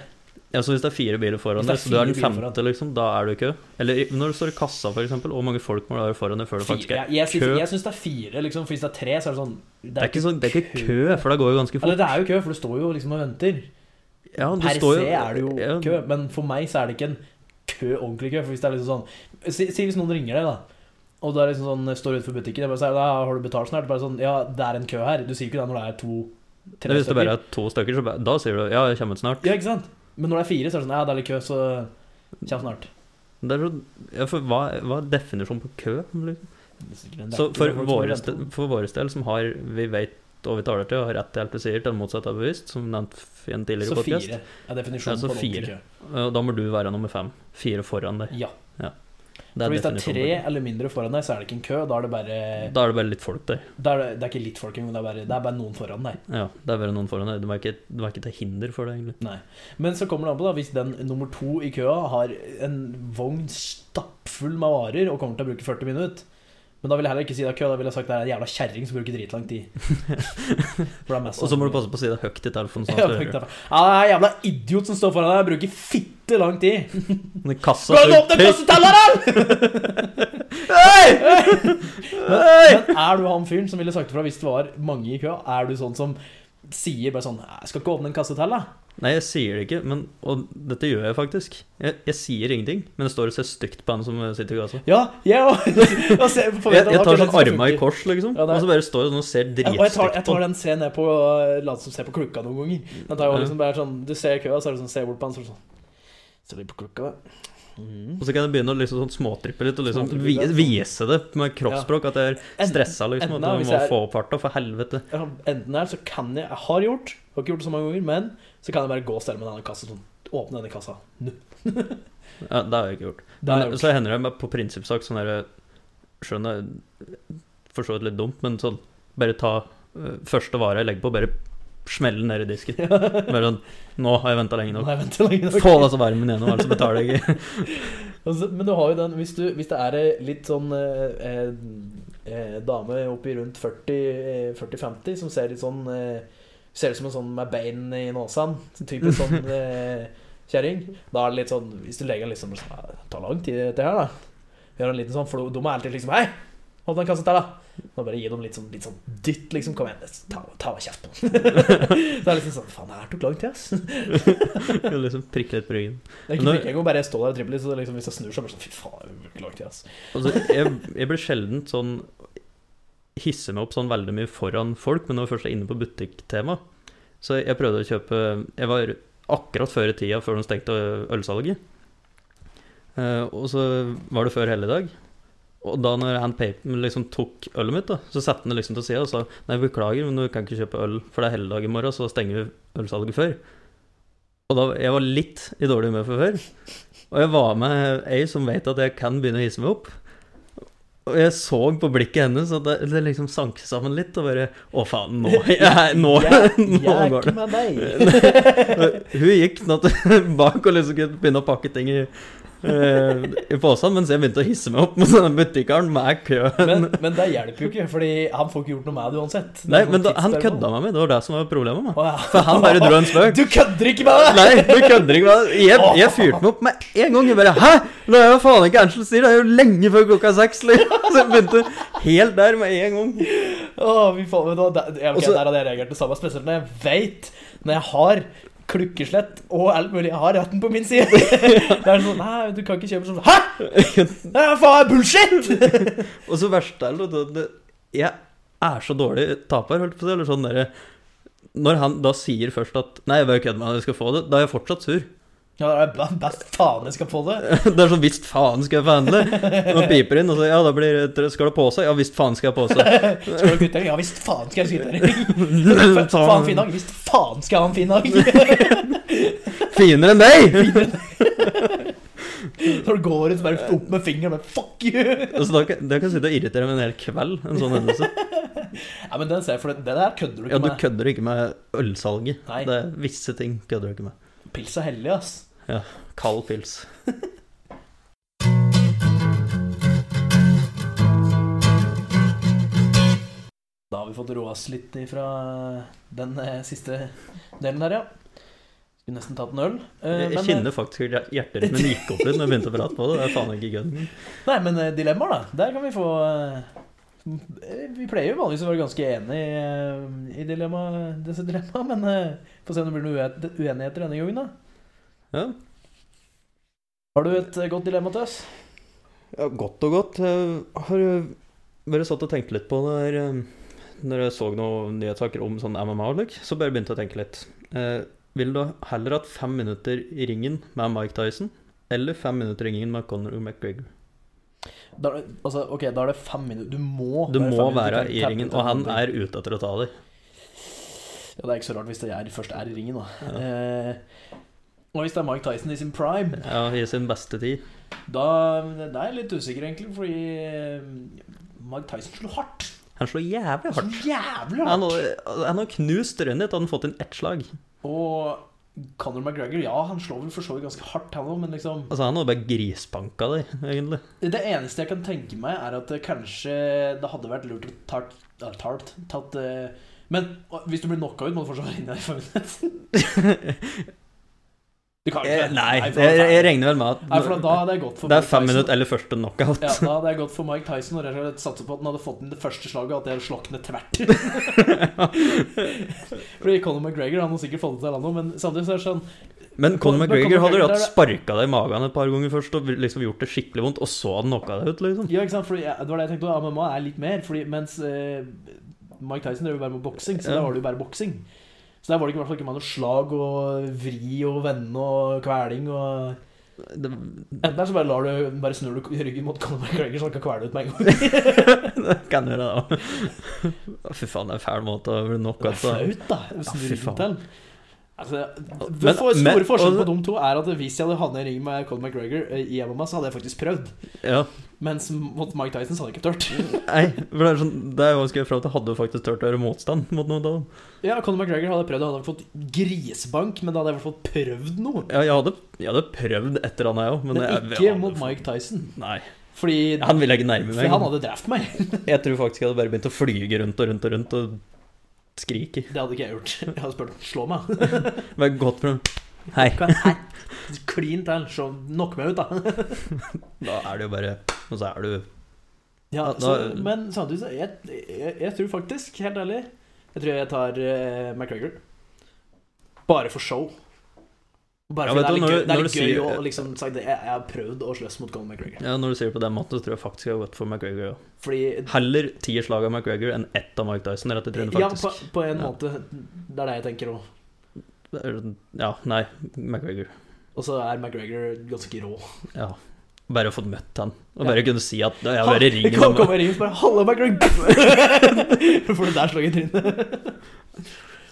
Speaker 3: Ja, så Hvis det er fire biler foran
Speaker 1: Hvis det er
Speaker 3: deg, så du er den
Speaker 1: fire biler
Speaker 3: femte, liksom, da er du i kø? Eller i- når du står i kassa, for eksempel, hvor mange folk må det være foran deg før det faktisk
Speaker 1: fire.
Speaker 3: er
Speaker 1: Jeg, jeg, syns,
Speaker 3: kø.
Speaker 1: jeg syns det er fire, liksom. For hvis det er tre, så er det sånn
Speaker 3: Det er ikke, sånn, det er ikke kø, for det går jo ganske
Speaker 1: Eller
Speaker 3: fort.
Speaker 1: Altså, det er jo kø, for du står jo liksom og venter.
Speaker 3: Ja, du
Speaker 1: Per
Speaker 3: står jo-
Speaker 1: se er det jo
Speaker 3: ja,
Speaker 1: kø, men for meg så er det ikke en kø, ordentlig kø. For hvis det er liksom sånn Si, si hvis noen ringer deg, da. Og du er liksom sånn, står utenfor butikken og bare sier da, sånn, 'Har du betalt snart?' Bare sånn 'Ja, det er en kø her'. Du sier ikke det når det er to,
Speaker 3: det-
Speaker 1: tre
Speaker 3: Hvis det bare
Speaker 1: stykker.
Speaker 3: er to stykker, så bare, da sier du ja, jeg kommer ut snart.
Speaker 1: Ja, ikke sant? Men når det er fire, så er det sånn 'Ja, det er litt kø, så kjem snart'.
Speaker 3: Det er så, ja, for hva, hva er definisjonen på kø? Liksom?
Speaker 1: Det er sikkert en
Speaker 3: Så
Speaker 1: dekning
Speaker 3: for
Speaker 1: av folk som
Speaker 3: vår,
Speaker 1: venter.
Speaker 3: del, for vår del, som har vi vet og vi taler til, og har rett til alt vi sier, til det motsatte er bevisst, som nevnt i en tidligere
Speaker 1: Så
Speaker 3: podkast,
Speaker 1: fire er definisjonen
Speaker 3: Ja, så
Speaker 1: på en ordentlig kø.
Speaker 3: fire. da må du være nummer fem. Fire foran deg.
Speaker 1: Ja.
Speaker 3: Det
Speaker 1: For hvis det er
Speaker 3: definisjonen
Speaker 1: tre
Speaker 3: på kø.
Speaker 1: eller mindre foran deg, så er det ikke en kø. Da er det bare
Speaker 3: Da er det bare litt folk der.
Speaker 1: da er det, det er ikke litt folk engang, det, er bare- det er bare noen foran deg.
Speaker 3: Ja, det er bare noen foran deg. Du er ikke, du er ikke til hinder for det, egentlig.
Speaker 1: Nei. Men så kommer det an på, da, hvis den nummer to i køa har en vogn stappfull med varer og kommer til å bruke 40 minutter Men da vil jeg heller ikke si det er kø, da vil jeg sagt det er en jævla kjerring som bruker dritlang tid. For det er mest sånn-
Speaker 3: Og så må du passe på å si det høyt i telefonen.
Speaker 1: Ja,
Speaker 3: Sånn at
Speaker 1: fuck
Speaker 3: du
Speaker 1: det.
Speaker 3: hører.
Speaker 1: Ja, det er en jævla idiot som står foran deg og bruker fitte lang tid.
Speaker 3: Men Kassa
Speaker 1: Skal du
Speaker 3: så-
Speaker 1: åpne kassetelleren?! Hei! Men, men er du han fyren som ville sagt ifra hvis det var mange i køa? Er du sånn som sier bare sånn «Jeg 'Skal ikke åpne en kassetelle'?
Speaker 3: Nei, jeg sier det ikke, men, og dette gjør jeg faktisk. Jeg, jeg sier ingenting, men jeg står og ser stygt på han som sitter i kassa.
Speaker 1: Ja, altså, jeg òg. Jeg,
Speaker 3: Jeg, jeg tar sånn arma i kors, liksom,
Speaker 1: Ja, det er-
Speaker 3: og så bare står jeg sånn og ser
Speaker 1: Ja, Og jeg tar,
Speaker 3: dritstygt
Speaker 1: jeg
Speaker 3: på
Speaker 1: tar
Speaker 3: han.
Speaker 1: den scenen ned på Lat som ser på klokka noen ganger. Den tar jo
Speaker 3: Ja.
Speaker 1: liksom bare sånn Du ser køa, så er det sånn Se bort på han, så er det sånn Ser litt på klokka, da. Mm.
Speaker 3: Og så kan jeg begynne å liksom sånn småtrippe litt og liksom
Speaker 1: Småtrippe
Speaker 3: vi-
Speaker 1: litt, ja.
Speaker 3: vise
Speaker 1: sånn.
Speaker 3: det med kroppsspråk at jeg er
Speaker 1: Enten-
Speaker 3: stressa, liksom.
Speaker 1: enten
Speaker 3: At
Speaker 1: da,
Speaker 3: jeg
Speaker 1: hvis
Speaker 3: må
Speaker 1: jeg er-
Speaker 3: få opp farta, for helvete.
Speaker 1: Ja, Enten her så kan jeg Jeg har gjort, har ikke gjort det så mange ganger, men så kan jeg bare gå og stelle meg i denne kassa sånn. Åpne denne kassa. Nå.
Speaker 3: Ja, det har jeg ikke gjort.
Speaker 1: Det har jeg
Speaker 3: Men
Speaker 1: gjort.
Speaker 3: Så hender det meg på prinsippsak sånn derre Skjønner For så vidt litt dumt, men sånn Bare ta øh, første vare jeg legger på, bare smelle den ned i disken. Bare sånn Nå har jeg venta lenge
Speaker 1: Nå
Speaker 3: nok.
Speaker 1: har jeg ventet lenge nok.
Speaker 3: Få altså varmen igjennom, ellers betaler jeg ikke.
Speaker 1: Altså, men du har jo den Hvis, du, hvis det er eh, litt sånn eh, eh, eh, dame oppi rundt 40, eh, 40-50 som ser litt sånn eh, Ser ut som en sånn med bein i nåsan. sånn Typisk sånn eh, kjerring. Da er det litt sånn Hvis du legger den liksom sånn, «Ja, Det tar lang tid, dette her, da. Gjør en liten sånn, for de er alltid liksom Hei! Hold den kassen der, da. Nå bare gi dem litt sånn, litt sånn dytt, liksom. Kom igjen, ta, ta av kjeft på den. Så det er liksom sånn Faen, det her tok lang tid, ass.
Speaker 3: Jeg vil liksom prikke litt på ryggen.
Speaker 1: Det er
Speaker 3: Men
Speaker 1: ikke
Speaker 3: når-
Speaker 1: mye, jeg kan bare stå der og trippe litt, så det er liksom, hvis jeg snur, så er det bare sånn Fy faen, det tok lang tid, ass.
Speaker 3: Altså, jeg, jeg blir sjelden sånn Hisser meg opp sånn veldig mye foran folk, men når jeg først er inne på butikktema Så jeg prøvde å kjøpe Jeg var akkurat før i tida, før de stengte ølsalget. Eh, og så var det før helligdag. Og da når han paper, liksom tok ølet mitt, da, så satte han det liksom til sida og sa Nei, beklager, men du kan ikke kjøpe øl, for det er helligdag i morgen, så stenger vi ølsalget før. Og da, jeg var litt i dårlig humør fra før. Og jeg var med ei som vet at jeg kan begynne å hisse meg opp. Og jeg så på blikket hennes at det, det liksom sank sammen litt, og bare Å, faen, nå, jeg, nå,
Speaker 1: Jeg, jeg
Speaker 3: nå
Speaker 1: er
Speaker 3: går det.
Speaker 1: ikke med deg.
Speaker 3: Eh, Hun gikk knapt bak og liksom kunne begynne å pakke ting i, eh, i posen, mens jeg begynte å hisse meg opp mot denne butikkaren med køen.
Speaker 1: men, men det hjelper jo ikke, Fordi han får ikke gjort noe med det uansett. Det er
Speaker 3: Nei,
Speaker 1: sånn
Speaker 3: men da, han
Speaker 1: tidsspørsmål.
Speaker 3: kødda med meg, det var det som var problemet. med meg.
Speaker 1: Å, ja.
Speaker 3: For han bare dro en spøk.
Speaker 1: Du kødder ikke med meg!
Speaker 3: Nei, du kødder ikke med det. Jeg, jeg fyrte meg opp med en gang. Jeg bare Hæ?! Det er jo faen ikke Angel sier, det er jo lenge før klokka er seks! Liksom. Så jeg begynte helt der med en gang.
Speaker 1: Å, fy faen, vet du hva, der, ja, ok,
Speaker 3: Og så-
Speaker 1: der hadde jeg reagert det samme, spesielt når jeg vet Når jeg har klukkeslett og alt mulig, jeg har retten på min side. det er sånn Nei, du kan ikke kjøpe sånn Hæ?! Det er faen bullshit!
Speaker 3: Og så verst er det at det- jeg er så dårlig taper, holdt på å si. Eller sånn derre Når han da sier først at 'nei, jeg bare kødder med deg, du skal få det', da er jeg fortsatt sur.
Speaker 1: Ja, det er be- best faen jeg skal få det.
Speaker 3: Det er sånn 'visst faen skal jeg få handle'. Man piper inn og så 'ja, da blir det Skal du ha pose?' 'Ja, visst faen skal jeg ha pose'.
Speaker 1: Skal du kutte? Ja visst faen skal jeg skyte deg. Fa- Faen fin dag. Visst faen skal jeg ha en fin dag.
Speaker 3: Finere enn deg!
Speaker 1: Når du går ut, så bare opp med fingeren men fuck you!
Speaker 3: Altså, da, kan- da kan jeg sitte og irritere meg en hel kveld, en sånn hendelse.
Speaker 1: Ja, men den ser jeg, for det, det der kødder du
Speaker 3: Ja,
Speaker 1: ikke
Speaker 3: du
Speaker 1: med.
Speaker 3: kødder ikke med ølsalget.
Speaker 1: Nei.
Speaker 3: Det er visse ting kødder du ikke med.
Speaker 1: Pils er hellig, ass.
Speaker 3: Kald pils.
Speaker 1: Da har vi fått roa oss litt ifra den eh, siste delen her, ja. Skulle nesten tatt en øl. eh,
Speaker 3: Jeg
Speaker 1: men,
Speaker 3: kjenner faktisk hjer- hjerterøtmen gikk opp litt når jeg begynte å prate på det. Det er faen ikke kødd.
Speaker 1: eh, Nei, men eh, dilemmaer, da. Der kan vi få eh, Vi pleier jo vanligvis å være ganske enige i, eh, i dilemma, disse dilemmaene, men eh, få se om det blir noen ue- uenigheter denne gangen, da.
Speaker 3: Ja.
Speaker 1: Har du et eh, godt dilemma til oss?
Speaker 3: Ja, godt og godt. Jeg har eh, bare satt og tenkt litt på det her eh, Når jeg så noen nyhetssaker om sånn MMA, og lik, så bare begynte jeg å tenke litt. Eh, Vil du heller hatt fem minutter i ringen med Mike Tyson, eller fem minutter i ringen med Conor McGregor?
Speaker 1: Da, er det- altså, ok, da er det fem minutter. Du må
Speaker 3: Du
Speaker 1: være
Speaker 3: må
Speaker 1: fem minutter
Speaker 3: være
Speaker 1: til
Speaker 3: i
Speaker 1: å
Speaker 3: ringen,
Speaker 1: tappe ut
Speaker 3: og han
Speaker 1: en
Speaker 3: er ute etter å ta deg.
Speaker 1: Ja, det er ikke så rart hvis det er, først er i ringen, da.
Speaker 3: Ja.
Speaker 1: Eh, og hvis det er Mike Tyson i sin prime
Speaker 3: Ja, I sin beste tid.
Speaker 1: Da det er jeg litt usikker, egentlig, fordi eh, Mike Tyson slo hardt.
Speaker 3: Han slår jævlig
Speaker 1: Han
Speaker 3: hardt.
Speaker 1: slo jævlig
Speaker 3: Han
Speaker 1: hardt.
Speaker 3: har, han har knust Rønnit, han har fått inn ett slag.
Speaker 1: Og Conor McGregor, ja, han slår vel for så vidt ganske hardt, han òg, men liksom
Speaker 3: Altså, han har bare grisbanka deg, egentlig.
Speaker 1: Det eneste jeg kan tenke meg, er at det kanskje det hadde vært lurt å tart, ja, tart, tatt eh, Men å, hvis du blir knocka ut, må du fortsatt være inne i fem minutter. Du kan
Speaker 3: Eh,
Speaker 1: ikke
Speaker 3: Nei,
Speaker 1: for da-
Speaker 3: jeg, jeg regner vel med
Speaker 1: Nei, for da
Speaker 3: at
Speaker 1: hadde jeg gått for
Speaker 3: det er
Speaker 1: Mike
Speaker 3: fem
Speaker 1: Tyson.
Speaker 3: minutter eller første knockout.
Speaker 1: Ja, da hadde jeg gått for Mike Tyson og rett og slett satset på at han hadde fått inn det første slaget, og at det sloknet tvert. Fordi Conor McGregor han har sikkert fått det til, han òg, men samtidig så er det sånn
Speaker 3: Men Conor
Speaker 1: Men- men
Speaker 3: McGregor
Speaker 1: Conor
Speaker 3: hadde jo
Speaker 1: McGregor
Speaker 3: hatt sparka deg i magen et par ganger først og liksom gjort det skikkelig vondt, og så hadde han knocka deg ut, liksom.
Speaker 1: Ja, ikke sant, fordi ja, det var det jeg tenkte, også, MMA er litt mer, fordi mens eh, Mike Tyson drev jo bare med boksing, så
Speaker 3: Ja.
Speaker 1: der var det jo bare boksing. Så der var det ikke, i hvert fall ikke med noe slag og vri og vende og kveling og
Speaker 3: Det,
Speaker 1: Enten så bare, lar du, bare snur du ryggen mot Conor McGregor, så han kan kvele ut med en gang.
Speaker 3: det kan gjøre det òg. Fy faen, det er en fæl måte å bli
Speaker 1: Det
Speaker 3: knocka
Speaker 1: er
Speaker 3: ut på.
Speaker 1: flaut, da. å Snu
Speaker 3: fy
Speaker 1: ryggen
Speaker 3: faen.
Speaker 1: til. Altså,
Speaker 3: Men-
Speaker 1: den for- store
Speaker 3: men-
Speaker 1: forskjellen
Speaker 3: og-
Speaker 1: på de to er at hvis jeg hadde havnet i ring med Colin McGregor eh, i MMA, så hadde jeg faktisk prøvd.
Speaker 3: Ja.
Speaker 1: Mens mot Mike Tyson så hadde jeg ikke tørt.
Speaker 3: Nei, for det er sånn Det er jo ganske fram til hadde jo faktisk turt å gjøre motstand mot noen av dem.
Speaker 1: Ja, Colin McGregor hadde prøvd, og hadde fått grisbank, men da hadde jeg i hvert fall prøvd noe.
Speaker 3: Ja, jeg hadde, jeg hadde prøvd et eller annet, jeg òg, men
Speaker 1: Men
Speaker 3: jeg,
Speaker 1: ikke mot Mike Tyson.
Speaker 3: Nei.
Speaker 1: Fordi
Speaker 3: Han ville jeg ikke nærme
Speaker 1: for han
Speaker 3: meg.
Speaker 1: hadde drept meg.
Speaker 3: Jeg tror faktisk jeg hadde bare begynt å flyge rundt og rundt og rundt og skrike.
Speaker 1: Det hadde ikke jeg gjort. Jeg hadde spurt slå meg.
Speaker 3: Bare gått for Hei.
Speaker 1: Hva- Hei. Klin til, så knock meg ut, da.
Speaker 3: Da er det jo bare Og så er du
Speaker 1: Ja,
Speaker 3: Ja, da-
Speaker 1: så, men samtidig så jeg, jeg, jeg tror faktisk, helt ærlig Jeg tror jeg tar eh, McGregor. Bare for show. Bare
Speaker 3: Ja,
Speaker 1: for
Speaker 3: vet
Speaker 1: det er
Speaker 3: du,
Speaker 1: litt
Speaker 3: når
Speaker 1: gøy,
Speaker 3: du-
Speaker 1: det er
Speaker 3: når
Speaker 1: litt
Speaker 3: du
Speaker 1: gøy
Speaker 3: sier-
Speaker 1: å liksom sagt det. Jeg, jeg har prøvd å slåss mot Colin McGregor.
Speaker 3: Ja, når du sier det på den måten, så tror jeg faktisk jeg har gått for McGregor. Ja.
Speaker 1: Fordi
Speaker 3: Heller ti slag av McGregor enn ett av Mike Dyson rett i trynet,
Speaker 1: Ja,
Speaker 3: faktisk.
Speaker 1: på, på en
Speaker 3: Ja.
Speaker 1: måte. Det er det jeg tenker òg.
Speaker 3: Det er- Ja, nei, McGregor.
Speaker 1: Og så er McGregor ganske rå.
Speaker 3: Ja. bare fått møtt han. Og
Speaker 1: Ja.
Speaker 3: bare kunne si at jeg har vært i ringen
Speaker 1: Kom,
Speaker 3: med
Speaker 1: kom og ring, bare Halla, McGregor! For det der slag i trynet.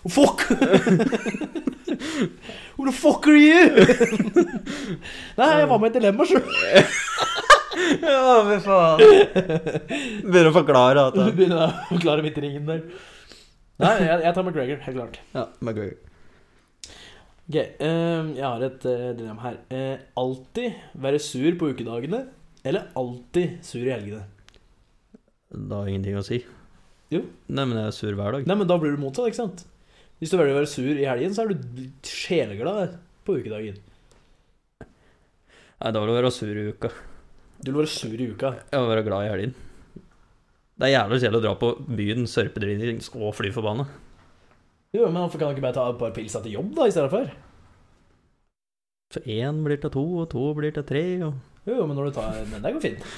Speaker 1: Oh, fuck! Who the fuck are you? Nei, jeg var med i et dilemma sjøl.
Speaker 3: Ja, fy faen. Begynner å forklare at
Speaker 1: Du begynner å forklare mitt i ringen der. Nei, jeg, jeg tar McGregor, helt klart.
Speaker 3: Ja, McGregor.
Speaker 1: Ok, ehm, jeg har et eh, dilemma her. Eh, alltid være sur på ukedagene, eller alltid sur i helgene?
Speaker 3: Da har jeg ingenting å si.
Speaker 1: Jo.
Speaker 3: Nei, men jeg er sur hver dag.
Speaker 1: Nei, men da blir du motsatt, ikke sant? Hvis du velger å være sur i helgen, så er du sjeleglad på ukedagen.
Speaker 3: Nei, da vil du være sur i uka.
Speaker 1: Du vil være sur i uka.
Speaker 3: Jeg vil være glad i helgen. Det er jævlig kjedelig å dra på byen, sørpedritings og fly forbanna.
Speaker 1: Jo, men hvorfor kan du ikke bare ta et par pilser til jobb, da, i stedet for?
Speaker 3: Så én blir til to, og to blir til tre, og
Speaker 1: Jo, men når du tar Men det går fint.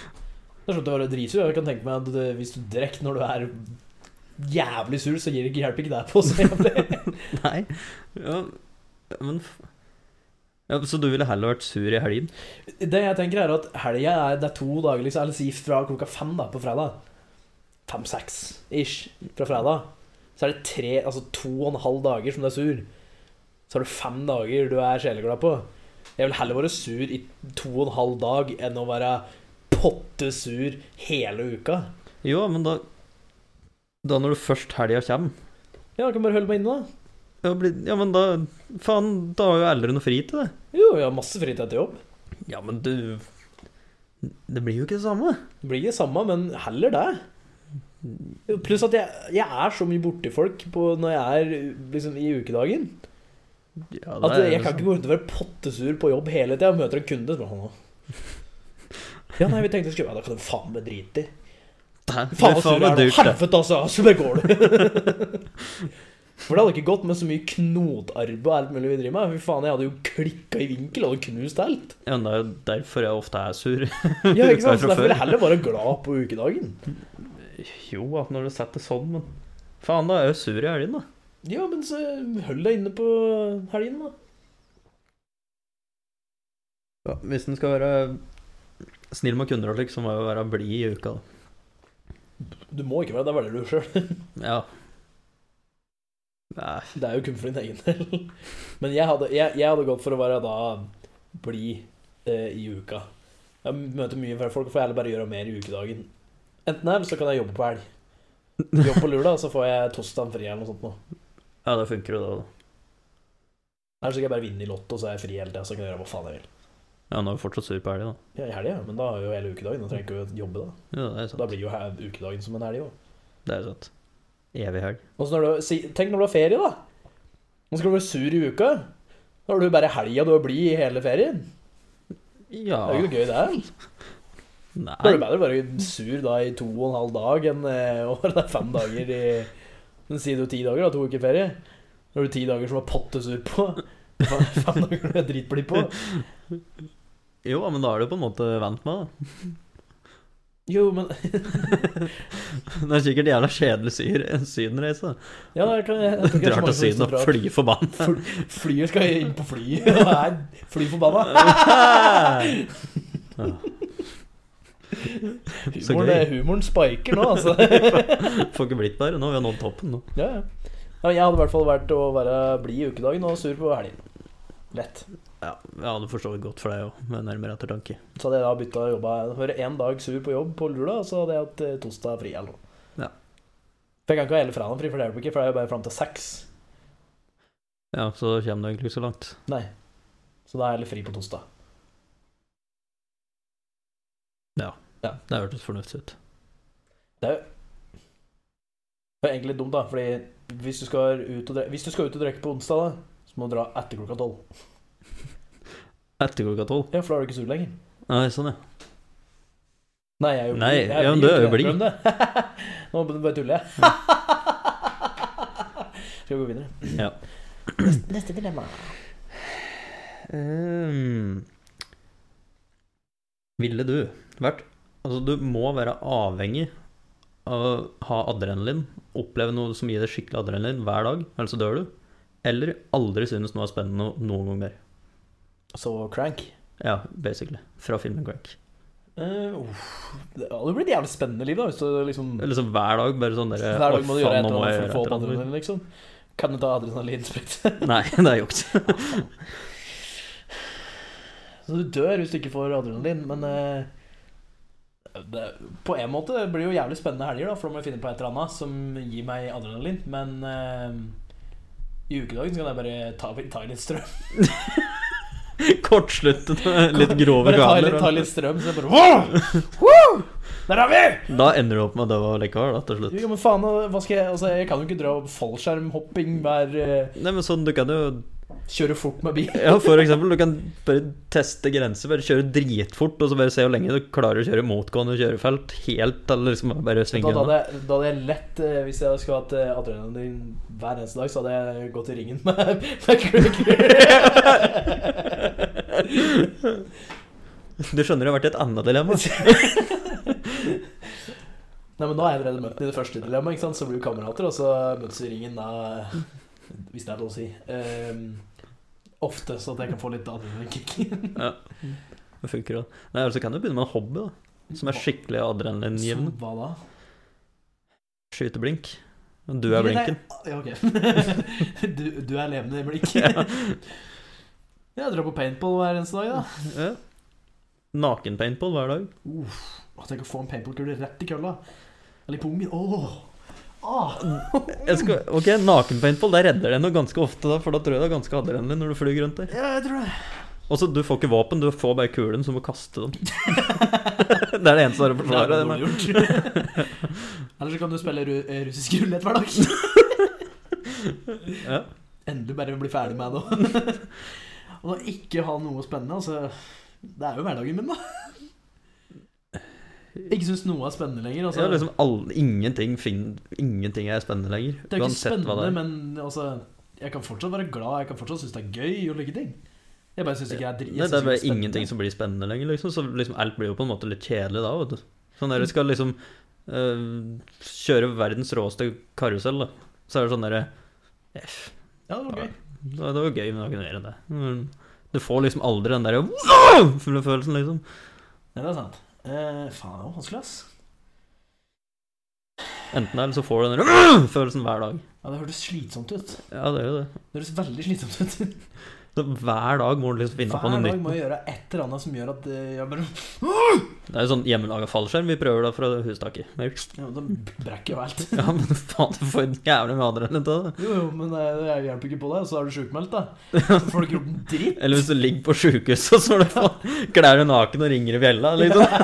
Speaker 1: Det er sånn at du er dritsur. Jeg kan tenke meg at det, hvis du drikker når du er jævlig sur, så gir det ikke- hjelper ikke deg på så jævlig.
Speaker 3: Nei. Ja, men f- ja, Så du ville heller vært sur i helgen?
Speaker 1: Det jeg tenker, er at helga er, det er to dager, liksom. Eller si fra klokka fem da, på fredag. Fem-seks ish fra fredag. Så er det tre, altså to og en halv dager som du er sur. Så har du fem dager du er sjeleglad på. Jeg vil heller være sur i to og en halv dag enn å være potte sur hele uka.
Speaker 3: Jo, men da Da når du først helga kommer
Speaker 1: Ja, jeg kan bare holde meg inne, da.
Speaker 3: ja, blir- ja, men da Faen, da har jo aldri noe fri til det.
Speaker 1: Jo, jeg har masse fritid etter jobb.
Speaker 3: Ja, men du Det blir jo ikke det samme.
Speaker 1: Det blir det samme, men heller det. Pluss at jeg, jeg er så mye borti folk på, når jeg er liksom, i ukedagen.
Speaker 3: Ja, liksom-
Speaker 1: At Altså, jeg kan ikke gå rundt og være pottesur på jobb hele tida. Møter en kunde så bare sånn Ja, nei, vi tenkte vi skulle Ja, da kan du faen meg drite i.
Speaker 3: Faen, det er
Speaker 1: Faen så
Speaker 3: faen
Speaker 1: sur jeg
Speaker 3: meg
Speaker 1: er nå.
Speaker 3: dyrt, det.
Speaker 1: Helvete, altså! Så bare går du. For det hadde ikke gått med så mye knotarbeid og alt mulig vi driver med. Fy faen, jeg hadde jo klikka i vinkel og knust alt.
Speaker 3: Ja, men det er jo derfor jeg ofte er sur.
Speaker 1: Ja, ikke sant? Så
Speaker 3: Fra
Speaker 1: derfor vil
Speaker 3: før.
Speaker 1: jeg heller være glad på ukedagen.
Speaker 3: Jo, at når du setter sånn, men Faen, da er jeg jo sur i helgen, da.
Speaker 1: Ja, men så hold deg inne på helgen, da.
Speaker 3: hvis en skal være snill med kunder og slik, så må jeg jo være blid i uka, da.
Speaker 1: Du må ikke være det, det velger du sjøl.
Speaker 3: Ja. Nei,
Speaker 1: Det er jo kun for din egen del. Men jeg hadde, jeg, jeg hadde gått for å være da blid eh, i uka. Jeg møter mye flere folk, for jeg heller bare gjøre mer i ukedagen. Enten her, eller så kan jeg jobbe på helg. Jobb på lørdag, så får jeg torsdag fri eller noe sånt. Nå.
Speaker 3: ja, det funker jo, det. da.
Speaker 1: Eller så kan jeg bare vinne i Lotto, så er jeg fri hele tida, så kan jeg gjøre hva faen jeg vil.
Speaker 3: Ja, nå er jeg fortsatt sur på helga, da.
Speaker 1: Ja, I helga, ja, men da har jeg jo hele ukedagen, da trenger jeg ikke å jobbe da.
Speaker 3: Ja, det er
Speaker 1: Så da
Speaker 3: sant.
Speaker 1: blir jo he- ukedagen som en helg òg.
Speaker 3: Det er sant. Evig helg.
Speaker 1: Tenk når du har ferie, da. Nå skal du være sur i uka. Da har du bare helga du er blid i hele ferien.
Speaker 3: Ja
Speaker 1: Det er jo ikke noe gøy, det. er. Da
Speaker 3: Nei.
Speaker 1: er det bedre å være sur da i to og en halv dag enn eh, å være der fem dager i Men sier du ti dager, da, to uker ferie. Da har du ti dager som du er pottesur på. Fem fem dager du er dritblid på.
Speaker 3: Jo, men da er du på en måte vant med det.
Speaker 1: Jo, men
Speaker 3: Det er sikkert jævla kjedelig syr, sydenreise. da.
Speaker 1: Ja, da kan jeg, jeg tror ikke det
Speaker 3: Drar
Speaker 1: er så mange
Speaker 3: til
Speaker 1: som
Speaker 3: Syden
Speaker 1: drar.
Speaker 3: og flyr forbanna.
Speaker 1: Fly- Flyet skal inn på flyet og er fly forbanna.
Speaker 3: Så
Speaker 1: Humoren, eh,
Speaker 3: gøy.
Speaker 1: humoren spiker nå, altså.
Speaker 3: Får ikke blitt bedre nå. Vi har nådd toppen nå.
Speaker 1: Ja, ja. Ja, Jeg hadde i hvert fall vært å være blid i ukedagen og sur på helgen. Lett.
Speaker 3: Ja, jeg hadde forstått godt for deg òg, med nærmere ettertanke.
Speaker 1: Så hadde jeg da bytta jobba Høre én dag sur på jobb på lørdag, og så hadde jeg hatt eh, torsdag fri eller noe.
Speaker 3: Ja.
Speaker 1: For jeg kan ikke ha hele fredagen fri, for det hjelper ikke, for det er jo bare fram til seks.
Speaker 3: Ja, så kommer du egentlig ikke så langt.
Speaker 1: Nei. Så da er jeg heller fri på torsdag.
Speaker 3: Det hørtes fornuftig ut.
Speaker 1: Det er egentlig litt dumt, da, fordi hvis du skal ut og drikke, hvis du skal ut og drikke på onsdag, da, så må du dra etter klokka tolv.
Speaker 3: Etter klokka tolv.
Speaker 1: Ja, for da er du ikke sur lenger.
Speaker 3: Nei, sånn, ja.
Speaker 1: Nei, jeg er jo
Speaker 3: Nei,
Speaker 1: blid. Jeg
Speaker 3: ja, men du er jo
Speaker 1: ikke det. Glem det. Nå bare tuller jeg. Skal vi gå videre?
Speaker 3: Ja.
Speaker 1: Neste- Neste dilemma.
Speaker 3: Ehm. ville du vært Altså, du må være avhengig av å ha adrenalin, oppleve noe som gir deg skikkelig adrenalin hver dag, ellers så dør du. Eller aldri synes noe er spennende noen gang mer.
Speaker 1: Så crank.
Speaker 3: Ja, basically. Fra filmen Crank.
Speaker 1: Eh, uff. det hadde blitt et jævlig spennende liv, da, hvis du liksom
Speaker 3: Eller Liksom hver dag, bare sånn derre
Speaker 1: Hver dag
Speaker 3: «Å,
Speaker 1: må du
Speaker 3: faen,
Speaker 1: gjøre et
Speaker 3: nå
Speaker 1: eller
Speaker 3: må
Speaker 1: annet for
Speaker 3: jeg
Speaker 1: å få opp
Speaker 3: gjøre et eller annet».
Speaker 1: adrenalin, liksom. Kan du ta adrenalinsprøyte?
Speaker 3: Nei, det er juks.
Speaker 1: Så du dør hvis du ikke får adrenalin, men eh, det, På en måte det blir jo jævlig spennende helger, da, for da må jeg finne på et eller annet som gir meg adrenalin, men eh, i ukedagen så kan jeg bare ta, ta litt strøm.
Speaker 3: Kortsluttet med litt grove
Speaker 1: Bare ta, litt, ta
Speaker 3: ganer.
Speaker 1: litt strøm, så jeg bare Woo! Woo! Der er vi!
Speaker 3: Da ender du opp med å dø likevel, da, til slutt.
Speaker 1: Jo, men faen, hva skal jeg Altså, jeg kan jo ikke dra fallskjermhopping hver eh,
Speaker 3: Nei, men sånn, du kan jo
Speaker 1: Kjøre fort med bil.
Speaker 3: Ja, for eksempel, du kan bare teste grenser, bare kjøre dritfort, og så bare se hvor lenge du klarer å kjøre motgående kjørefelt helt til det liksom bare
Speaker 1: Da,
Speaker 3: svinger unna.
Speaker 1: da, hadde jeg, da hadde jeg lett eh, Hvis jeg skulle hatt eh, adrenalin hver eneste dag, så hadde jeg gått i ringen med, med kløkker.
Speaker 3: Du skjønner det har vært et annet dilemma.
Speaker 1: Nei, men nå har jeg allerede møtt den i det første dilemmaet, ikke sant? så blir vi kamerater, og så møtes vi i ringen da Hvis det er lov å si. Ehm, ofte, så at jeg kan få litt adrenalinkick.
Speaker 3: Det funker jo. Nei, eller så kan du begynne med en hobby, da. Som er skikkelig
Speaker 1: Som
Speaker 3: adrenalingivende.
Speaker 1: hva da?
Speaker 3: Skyte blink. Du er blinken.
Speaker 1: ah, Ja, ok. Du, du er levende i blikket. Ja, dra på paintball hver eneste dag, da.
Speaker 3: Ja. Nakenpaintball hver dag.
Speaker 1: Uff, å, tenk å få en paintballkule rett i kølla. Eller i pungen. Åh! Ah.
Speaker 3: Jeg skal, ok, Nakenpaintball, der redder det noe ganske ofte, da, for da tror jeg det er ganske adrenalin når du flyr rundt der.
Speaker 1: Ja, jeg tror det.
Speaker 3: Og så, du får ikke våpen, du får bare kulen, så du må kaste dem. det er det eneste som er å
Speaker 1: Det er
Speaker 3: forsvare.
Speaker 1: dårlig
Speaker 3: den her.
Speaker 1: gjort. Eller så kan du spille ru eh, russisk rulett hver dag.
Speaker 3: Ja.
Speaker 1: Endelig bare bli ferdig med det. Og da ikke ha noe spennende, altså. Det er jo hverdagen min, da. Ikke syns noe er spennende lenger. Altså.
Speaker 3: Ja, liksom all, ingenting, fin, ingenting er spennende lenger.
Speaker 1: Det er jo ikke
Speaker 3: uansett hva
Speaker 1: spennende,
Speaker 3: det er.
Speaker 1: men altså, jeg kan fortsatt være glad, jeg kan fortsatt synes det er gøy og like ting. Jeg bare synes ikke jeg er dri- jeg
Speaker 3: Nei,
Speaker 1: synes
Speaker 3: det er
Speaker 1: ikke
Speaker 3: bare
Speaker 1: spennende.
Speaker 3: ingenting som blir spennende lenger, liksom. Så liksom alt blir jo på en måte litt kjedelig da. Vet du. Sånn der, du skal liksom eh, kjøre verdens råeste karusell, da. Så er det sånn derre Eff.
Speaker 1: Ja, det var gøy.
Speaker 3: Det var gøy, men det var ikke noe mer enn det. Men Du får liksom aldri den derre wow! følelsen, liksom.
Speaker 1: Nei, det er sant. Eh, faen, det var vanskelig, ass.
Speaker 3: Enten eller så får du den derre wow! følelsen hver dag.
Speaker 1: Ja, det hørtes slitsomt ut.
Speaker 3: Ja, det er jo det.
Speaker 1: Det høres veldig slitsomt ut.
Speaker 3: Så hver dag må du liksom finne på
Speaker 1: Hver
Speaker 3: noe
Speaker 1: dag
Speaker 3: nytt.
Speaker 1: må jeg gjøre et eller annet som gjør at eh, jeg bare
Speaker 3: Det er jo sånn hjemmelaga fallskjerm vi prøver da fra hustaket. Men-
Speaker 1: Ja, da brekker jo helt.
Speaker 3: Ja, men faen, du får jævlig mye adrenalin til det.
Speaker 1: Jo, jo, men eh, det det hjelper ikke på deg, og så er du sjukmeldt, da. Så får du ikke gjort en dritt.
Speaker 3: Eller hvis du ligger på sjukehuset, så er du faen klær deg naken og ringer i bjella. Liksom.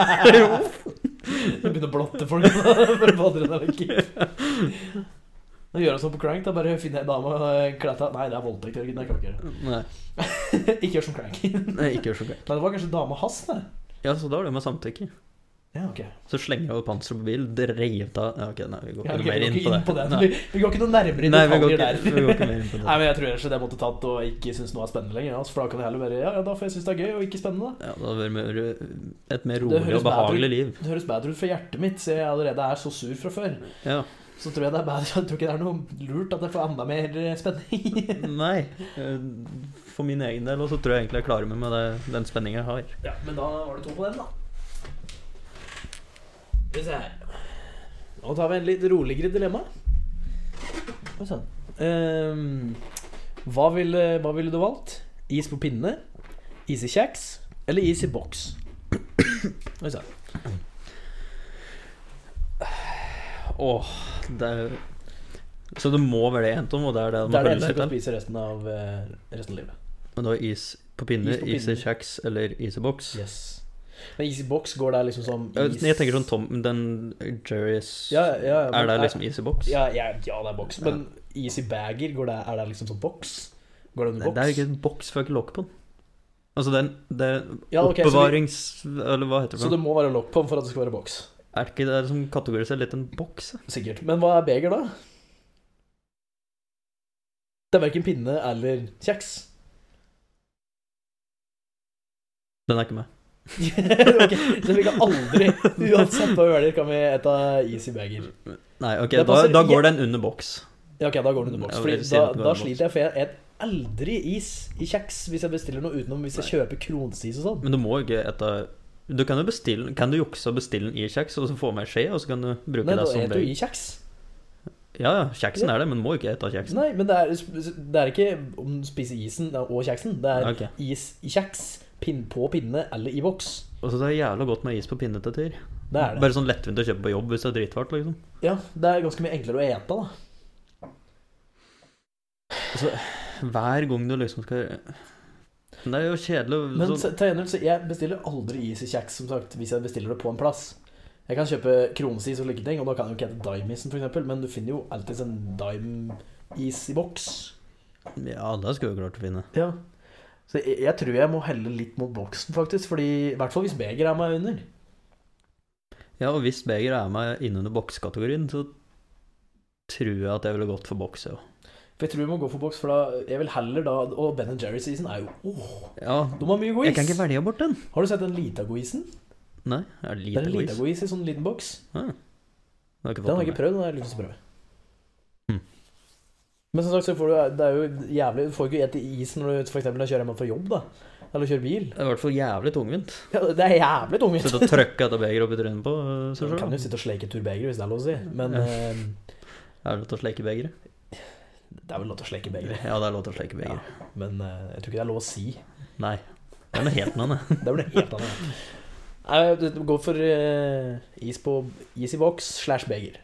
Speaker 1: Du begynner å blotte folk for å få adrenalinkick. Da gjør jeg sånn på Crank. da Bare finner jeg en dame og kler av Nei, det er voldtekt, Jørgen. Det kan jeg ikke
Speaker 3: Nei,
Speaker 1: gjøre. Ikke gjør som Crank. Nei,
Speaker 3: nei, ikke gjør så galt.
Speaker 1: det var kanskje dama hans, det.
Speaker 3: Ja, så da var det med samtykke.
Speaker 1: Ja, ok.
Speaker 3: Så slenger jeg over panseret på bilen, dreiv av Ja, ok, nei, vi går
Speaker 1: Ja,
Speaker 3: ikke mer
Speaker 1: ok, vi går
Speaker 3: inn
Speaker 1: ikke
Speaker 3: på det.
Speaker 1: inn på det.
Speaker 3: Nei.
Speaker 1: Vi, vi går ikke noe nærmere i
Speaker 3: Nei, vi går
Speaker 1: detaljer
Speaker 3: ikke,
Speaker 1: der.
Speaker 3: vi går ikke mer inn på
Speaker 1: Nei,
Speaker 3: det.
Speaker 1: men jeg tror ellers at jeg måtte tatt og ikke synes noe er spennende lenger. Altså, for da kan jeg heller bare Ja, ja da får jeg synes det er gøy, og ikke spennende.
Speaker 3: Ja, det hadde vært mer, et mer
Speaker 1: Det
Speaker 3: rolig
Speaker 1: høres
Speaker 3: og
Speaker 1: bedre
Speaker 3: behagelig liv.
Speaker 1: Det høres bedre ut fra hjertet mitt, siden jeg allerede er så sur fra før.
Speaker 3: Ja.
Speaker 1: Så tror jeg det er bedre Jeg tror ikke det er noe lurt at jeg får enda mer spenning.
Speaker 3: Nei. eh, For min egen del, og så tror jeg egentlig jeg klarer meg med det, den spenninga jeg har.
Speaker 1: Ja, men da var det to på den, da. Skal vi se her Nå tar vi en litt roligere dilemma. Oi sann. Ehm, hva, ville- hva ville du valgt? Is på pinne? Is i kjeks? Eller is i boks? Oi sånn. sann.
Speaker 3: Åh, det er Så du må velge en tom, og det er det du
Speaker 1: Det
Speaker 3: må
Speaker 1: er det
Speaker 3: holde
Speaker 1: eneste du
Speaker 3: deg
Speaker 1: kan
Speaker 3: til.
Speaker 1: spise resten av, eh, resten av livet.
Speaker 3: Men da is på pinne,
Speaker 1: Is på
Speaker 3: is i
Speaker 1: pinne.
Speaker 3: kjeks eller is i boks?
Speaker 1: Yes. Men is i boks, går der liksom som
Speaker 3: Ja,
Speaker 1: is
Speaker 3: Jeg tenker sånn Tom, den Jerry's
Speaker 1: Ja, ja, ja, men
Speaker 3: Er det
Speaker 1: er-
Speaker 3: liksom is i boks?
Speaker 1: Ja, ja, ja, det er boks. Men is i bager, går det, er det liksom som boks? Går
Speaker 3: Nei,
Speaker 1: det under boks?
Speaker 3: det er ikke en boks, for jeg har ikke lokk på den. Altså, den, det er
Speaker 1: Ja, ok, så vi-
Speaker 3: oppbevarings... Eller hva heter det?
Speaker 1: Så
Speaker 3: for
Speaker 1: det
Speaker 3: noe?
Speaker 1: må være lokk på den for at det skal være boks.
Speaker 3: Er det ikke det som kategoriserer litt en boks? da?
Speaker 1: Sikkert. Men hva er beger, da? Det er verken pinne eller kjeks.
Speaker 3: Den er ikke med.
Speaker 1: ok, Så vi kan aldri, uansett hva vi velger, kan vi eta is i beger.
Speaker 3: Nei, ok,
Speaker 1: Det
Speaker 3: da,
Speaker 1: passer-
Speaker 3: da går den under boks.
Speaker 1: Ja, ok, da går det under boks.
Speaker 3: Ja,
Speaker 1: Fordi
Speaker 3: jeg sier
Speaker 1: da,
Speaker 3: at det går
Speaker 1: da
Speaker 3: under
Speaker 1: sliter jeg, for jeg et aldri is i kjeks hvis jeg bestiller noe utenom hvis jeg kjøper kronsis og sånn.
Speaker 3: Men du må ikke ete Du kan jo bestille Kan du jukse og bestille den i kjeks, og så få med skje, og så kan du bruke
Speaker 1: Nei,
Speaker 3: det
Speaker 1: da
Speaker 3: som
Speaker 1: heter det
Speaker 3: bøy?
Speaker 1: jo i kjeks.
Speaker 3: Ja, ja, kjeksen er det, men må ikke ete av kjeksen.
Speaker 1: Nei, men det er, det er ikke om du spiser isen og kjeksen. Det er
Speaker 3: Ok.
Speaker 1: is i kjeks, pinn på pinne eller i boks.
Speaker 3: Og så er det jævla godt med is på pinneteter.
Speaker 1: Det er det.
Speaker 3: Bare sånn lettvint å kjøpe på jobb hvis det er dritvarmt, liksom.
Speaker 1: Ja, det er ganske mye enklere å ete, da.
Speaker 3: Hver gang du liksom skal Men det er jo kjedelig å-
Speaker 1: Men
Speaker 3: sånn,
Speaker 1: så- til gjengjeld, så jeg bestiller aldri is i kjeks, som sagt, hvis jeg bestiller det på en plass. Jeg kan kjøpe kronesis og slike ting, og da kan jeg jo ikke hete Daimisen, for eksempel, men du finner jo alltids en Daim-is i boks.
Speaker 3: Ja, det skulle du klart å finne.
Speaker 1: Ja. Så jeg, jeg tror jeg må helle litt mot boksen, faktisk, fordi, i hvert fall hvis begeret er meg under.
Speaker 3: Ja, og hvis begeret er med innunder bokskategorien, så tror jeg at jeg ville gått for boks, ja.
Speaker 1: For jeg tror vi må gå for boks, for da, jeg vil heller da Og Ben Jerry-season er jo åh,
Speaker 3: Ja,
Speaker 1: de har mye god
Speaker 3: jeg kan ikke
Speaker 1: is!
Speaker 3: velge bort den.
Speaker 1: Har du sett den Litago-isen?
Speaker 3: Nei, er det
Speaker 1: Det er
Speaker 3: lite
Speaker 1: en
Speaker 3: quiz?
Speaker 1: Litago-is i sånn liten boks.
Speaker 3: Den har jeg ikke
Speaker 1: Den har
Speaker 3: fått med
Speaker 1: jeg ikke prøvd, den har jeg lyst til å prøve.
Speaker 3: Hmm.
Speaker 1: Men som sagt, så får du Det er jo jævlig Du får ikke et is når du for eksempel når du kjører hjem fra jobb, da. Eller kjører bil.
Speaker 3: Det er i hvert fall jævlig tungvint.
Speaker 1: Ja, det er jævlig tungvint.
Speaker 3: Sitte og trykke dette begeret opp i trynet på eh, seg
Speaker 1: Du kan jo
Speaker 3: sjøl.
Speaker 1: sitte og sleike turbeger, hvis det er lov å si. Men
Speaker 3: Ja.
Speaker 1: eh,
Speaker 3: Er det lov til å sleike begeret?
Speaker 1: det er vel lov til å sleike beger.
Speaker 3: Ja, det er lov til å sleike beger.
Speaker 1: Men eh, jeg tror ikke det er lov å si.
Speaker 3: Nei. Det er noe helt annet.
Speaker 1: Det er vel noe helt annet. Nei, du går for eh, is på is i boks slash beger.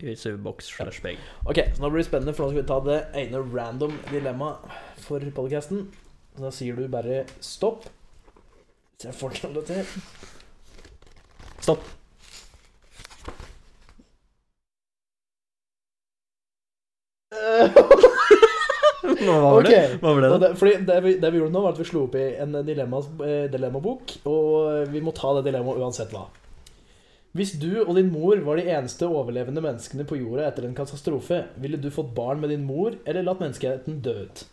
Speaker 3: Hvis du boks slash beger.
Speaker 1: Ok, så nå blir det spennende, for nå skal vi ta det ene random dilemmaet for podcasten. Så da sier du bare stopp. Så jeg får til det til.
Speaker 3: Stopp. Hva var
Speaker 1: Ok,
Speaker 3: det? Hva var det
Speaker 1: og
Speaker 3: da?
Speaker 1: det, fordi det, vi, det vi gjorde nå, var at vi slo opp i en dilemma, eh, dilemmabok, og vi må ta det dilemmaet uansett hva. Hvis du og din mor var de eneste overlevende menneskene på jorda etter en katastrofe, ville du fått barn med din mor, eller latt menneskeheten dø ut?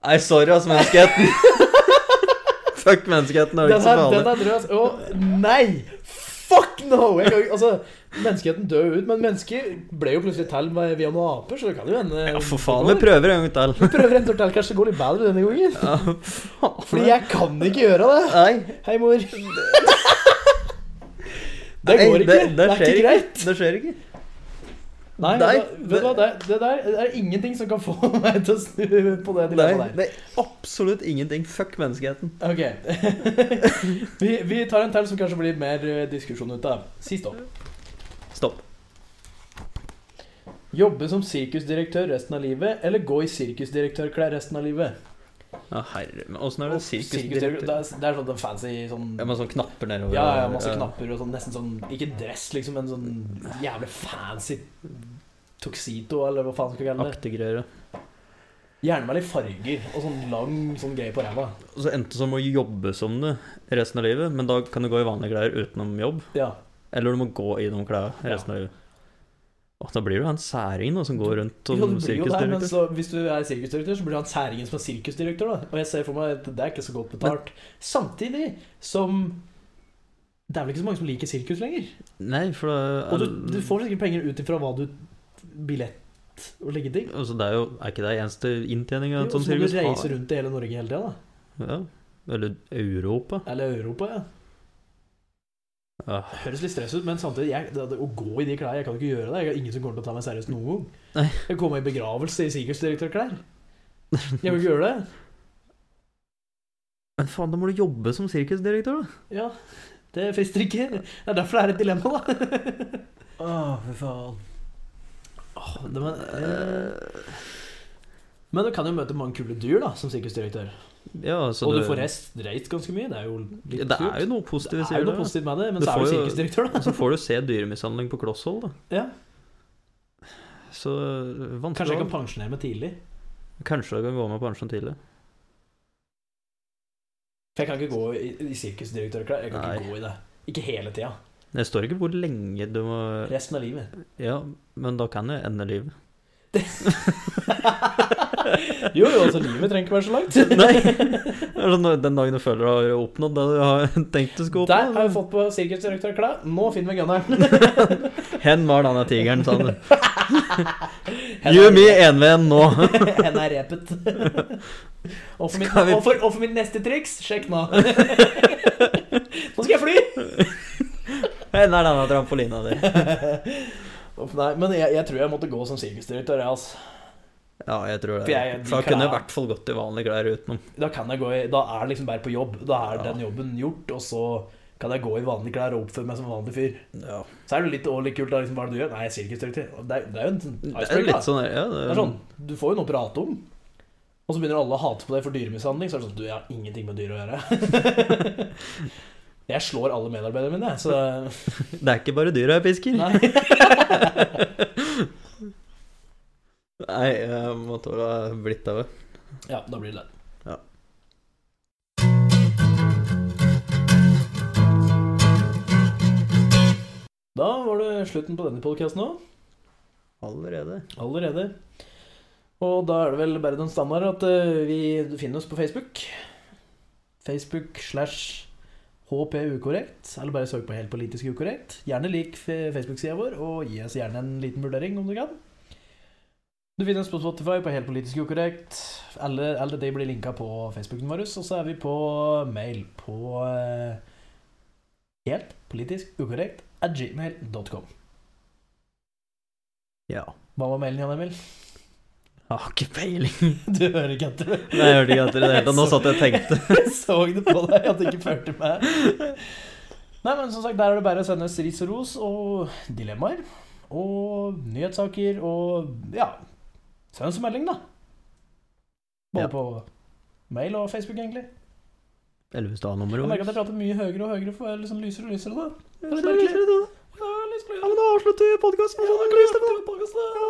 Speaker 3: Nei, sorry, ass, menneskeheten. Fuck menneskeheten. Det er
Speaker 1: Den
Speaker 3: ikke så
Speaker 1: er, den
Speaker 3: farlig.
Speaker 1: er drøs. Å, nei! Fuck no! Jeg, kan ikke- altså, menneskeheten dør jo ut, men mennesker ble jo plutselig til med- via noen aper, så det kan jo hende
Speaker 3: Ja, for faen. Vi prøver en gang til.
Speaker 1: Vi prøver en tur til, kanskje det går litt bedre denne gangen.
Speaker 3: Ja, faen.
Speaker 1: Fordi jeg kan ikke gjøre det.
Speaker 3: Nei.
Speaker 1: Hei, mor. Det
Speaker 3: Nei,
Speaker 1: går ikke. Det,
Speaker 3: det- det
Speaker 1: er
Speaker 3: skjer
Speaker 1: ikke
Speaker 3: ikke.
Speaker 1: greit.
Speaker 3: Det skjer ikke.
Speaker 1: Nei,
Speaker 3: Nei,
Speaker 1: vet du hva- vet du hva, det, det der det er ingenting som kan få meg til å snu på det
Speaker 3: Nei,
Speaker 1: dilemmaet der.
Speaker 3: det er absolutt ingenting. Fuck menneskeheten.
Speaker 1: Ok. vi, vi tar en til som kanskje blir mer eh, diskusjon ut av. Si stopp.
Speaker 3: Stopp.
Speaker 1: Jobbe som sirkusdirektør resten av livet, eller gå i sirkusdirektørklær resten av livet?
Speaker 3: Ja, herre men Åssen er det
Speaker 1: Og sirkusdirektør- Det
Speaker 3: sirkusdirektør?
Speaker 1: er, det er sånn fancy sånn
Speaker 3: Ja, med sånne knapper nedover.
Speaker 1: ja, ja, masse knapper og sånn, nesten sånn Ikke dress, liksom, men sånn jævlig fancy tuxedo, eller hva faen skal vi kalle det.
Speaker 3: Aktige greier. ja.
Speaker 1: Gjerne med litt farger og sånn lang sånn greie på ræva.
Speaker 3: Og så endte det som å jobbe som det resten av livet, men da kan du gå i vanlige klær utenom jobb.
Speaker 1: Ja.
Speaker 3: Eller du må gå i noen klær resten av livet. Åh, da blir du han særingen da, som går rundt
Speaker 1: Jo,
Speaker 3: som
Speaker 1: du blir jo der, men
Speaker 3: sånn sirkusdirektør.
Speaker 1: så, hvis du er sirkusdirektør, så blir han særingen som er sirkusdirektør. da Og jeg ser for meg at det er ikke så godt betalt. Samtidig som Det er vel ikke så mange som liker sirkus lenger?
Speaker 3: Nei, for da
Speaker 1: Og du, du får sikkert penger ut ifra hva du Billett og like ting.
Speaker 3: Altså, det er jo Er ikke det eneste inntjeninga
Speaker 1: Jo,
Speaker 3: et
Speaker 1: Så
Speaker 3: sånt
Speaker 1: må du
Speaker 3: sirkus
Speaker 1: reise
Speaker 3: har?
Speaker 1: rundt i hele Norge hele tida, da.
Speaker 3: Ja. Eller Europa. Ah.
Speaker 1: Eller Europa, ja.
Speaker 3: Ja.
Speaker 1: Det høres litt stress ut, men samtidig jeg, det, det, Å gå i de klærne, jeg kan ikke gjøre det. Jeg har ingen som kommer til å ta meg seriøst noen gang.
Speaker 3: Nei.
Speaker 1: Jeg kommer i begravelse i sikkerhetsdirektørklær. Jeg vil ikke gjøre det.
Speaker 3: Men faen, da må du jobbe som sirkusdirektør, da.
Speaker 1: Ja, det frister ikke. Det er derfor det er et dilemma, da. Å, fy faen. det, men, eh, men du kan jo møte mange kule dyr da, som sikkerhetsdirektør.
Speaker 3: Ja, altså
Speaker 1: Og du får reist, reist ganske mye. Det er jo litt
Speaker 3: Ja, det
Speaker 1: kult.
Speaker 3: er jo noe positivt,
Speaker 1: Det er
Speaker 3: sier
Speaker 1: jo
Speaker 3: du.
Speaker 1: noe positivt med det, men
Speaker 3: Du
Speaker 1: så er du
Speaker 3: får jo-
Speaker 1: sirkusdirektør, da.
Speaker 3: Så får du se dyremishandling på kloss hold, da.
Speaker 1: Ja.
Speaker 3: Så eh, vanskelig
Speaker 1: Kanskje jeg
Speaker 3: valg.
Speaker 1: kan pensjonere meg tidlig.
Speaker 3: Kanskje du kan gå med pensjon tidlig.
Speaker 1: For jeg kan ikke gå i, i sirkusdirektørklær. Jeg kan
Speaker 3: Nei.
Speaker 1: ikke gå i det. Ikke hele tida.
Speaker 3: Det står ikke hvor lenge du må
Speaker 1: Resten av livet.
Speaker 3: Ja, men da kan det ende livet.
Speaker 1: jo, jo, altså livet trenger ikke være så langt.
Speaker 3: Nei! Altså, når- Den dagen du føler du har oppnådd det du har tenkt du skulle
Speaker 1: Der har vi
Speaker 3: oppnå.
Speaker 1: fått på sirkusdirektørklær. Nå finner vi gunneren.
Speaker 3: Hen var denne tigeren, sa han. You me enven nå!
Speaker 1: Hen er repet. og, for mitt,
Speaker 3: Skal vi-
Speaker 1: og, for, og for mitt neste triks, sjekk nå.
Speaker 3: Hvor er denne trampolina di?
Speaker 1: Uff, Nei, men jeg, jeg tror jeg måtte gå som sirkusdirektør. jeg, Altså.
Speaker 3: Ja, jeg tror
Speaker 1: For
Speaker 3: det.
Speaker 1: jeg- de
Speaker 3: For da kunne jeg i
Speaker 1: klær-
Speaker 3: hvert fall gått i vanlige klær utenom.
Speaker 1: Da, kan jeg gå i, da er det liksom bare på jobb. Da er
Speaker 3: Ja.
Speaker 1: den jobben gjort, og så kan jeg gå i vanlige klær og oppføre meg som en vanlig fyr.
Speaker 3: Ja.
Speaker 1: Så er det litt også litt kult. Da, liksom, hva er det du gjør? Nei, jeg er sirkusdirektør. Og Det, er- det er jo en sånn
Speaker 3: Det er
Speaker 1: iceberg,
Speaker 3: jo
Speaker 1: da.
Speaker 3: litt sånn der, ja,
Speaker 1: Det
Speaker 3: det,
Speaker 1: er sånn, Du får jo noe å prate om, og så begynner alle å hate på deg for dyremishandling. Så er det sånn Du, jeg har ingenting med dyr å gjøre. Jeg slår alle medarbeiderne mine, jeg, så
Speaker 3: det er ikke bare dyra jeg pisker. Nei,
Speaker 1: Nei.
Speaker 3: jeg må tåle å ha blitt av det.
Speaker 1: Ja, da blir det det. Da var det slutten på denne podkasten òg.
Speaker 3: Allerede.
Speaker 1: Allerede. Og da er det vel bare den standard at eh, vi finner oss på Facebook. Facebook slash HPUkorrekt. E Eller bare søk på Helt politisk ukorrekt. Gjerne lik fe- Facebook-sida vår, og gi oss gjerne en liten vurdering om du kan. Du finner oss på Spotify på Helt politisk ukorrekt. Alle, alle de blir linka på Facebooken vår. Og så er vi på mail på eh, helt politisk ukorrekt at gmail.com.
Speaker 3: Ja.
Speaker 1: Hva var mailen, Jan Emil?
Speaker 3: Jeg har ikke peiling.
Speaker 1: Du hører ikke etter.
Speaker 3: Nei, jeg hørte ikke etter det hele tatt. Nå satt jeg og tenkte.
Speaker 1: Jeg så det på deg at du ikke fulgte med. Nei, men som sagt, der er det bare å sende oss ris og ros og dilemmaer. Og nyhetssaker og ja Send oss en melding, da. Både
Speaker 3: Ja.
Speaker 1: på mail og Facebook, egentlig. Jeg
Speaker 3: Elvestad-nummeret
Speaker 1: merker at jeg prater mye høyere og høyere, for jeg er liksom lysere og lysere. da
Speaker 3: Ja, men da avslutter vi podkasten med sånne klister.
Speaker 1: Ja, Ah,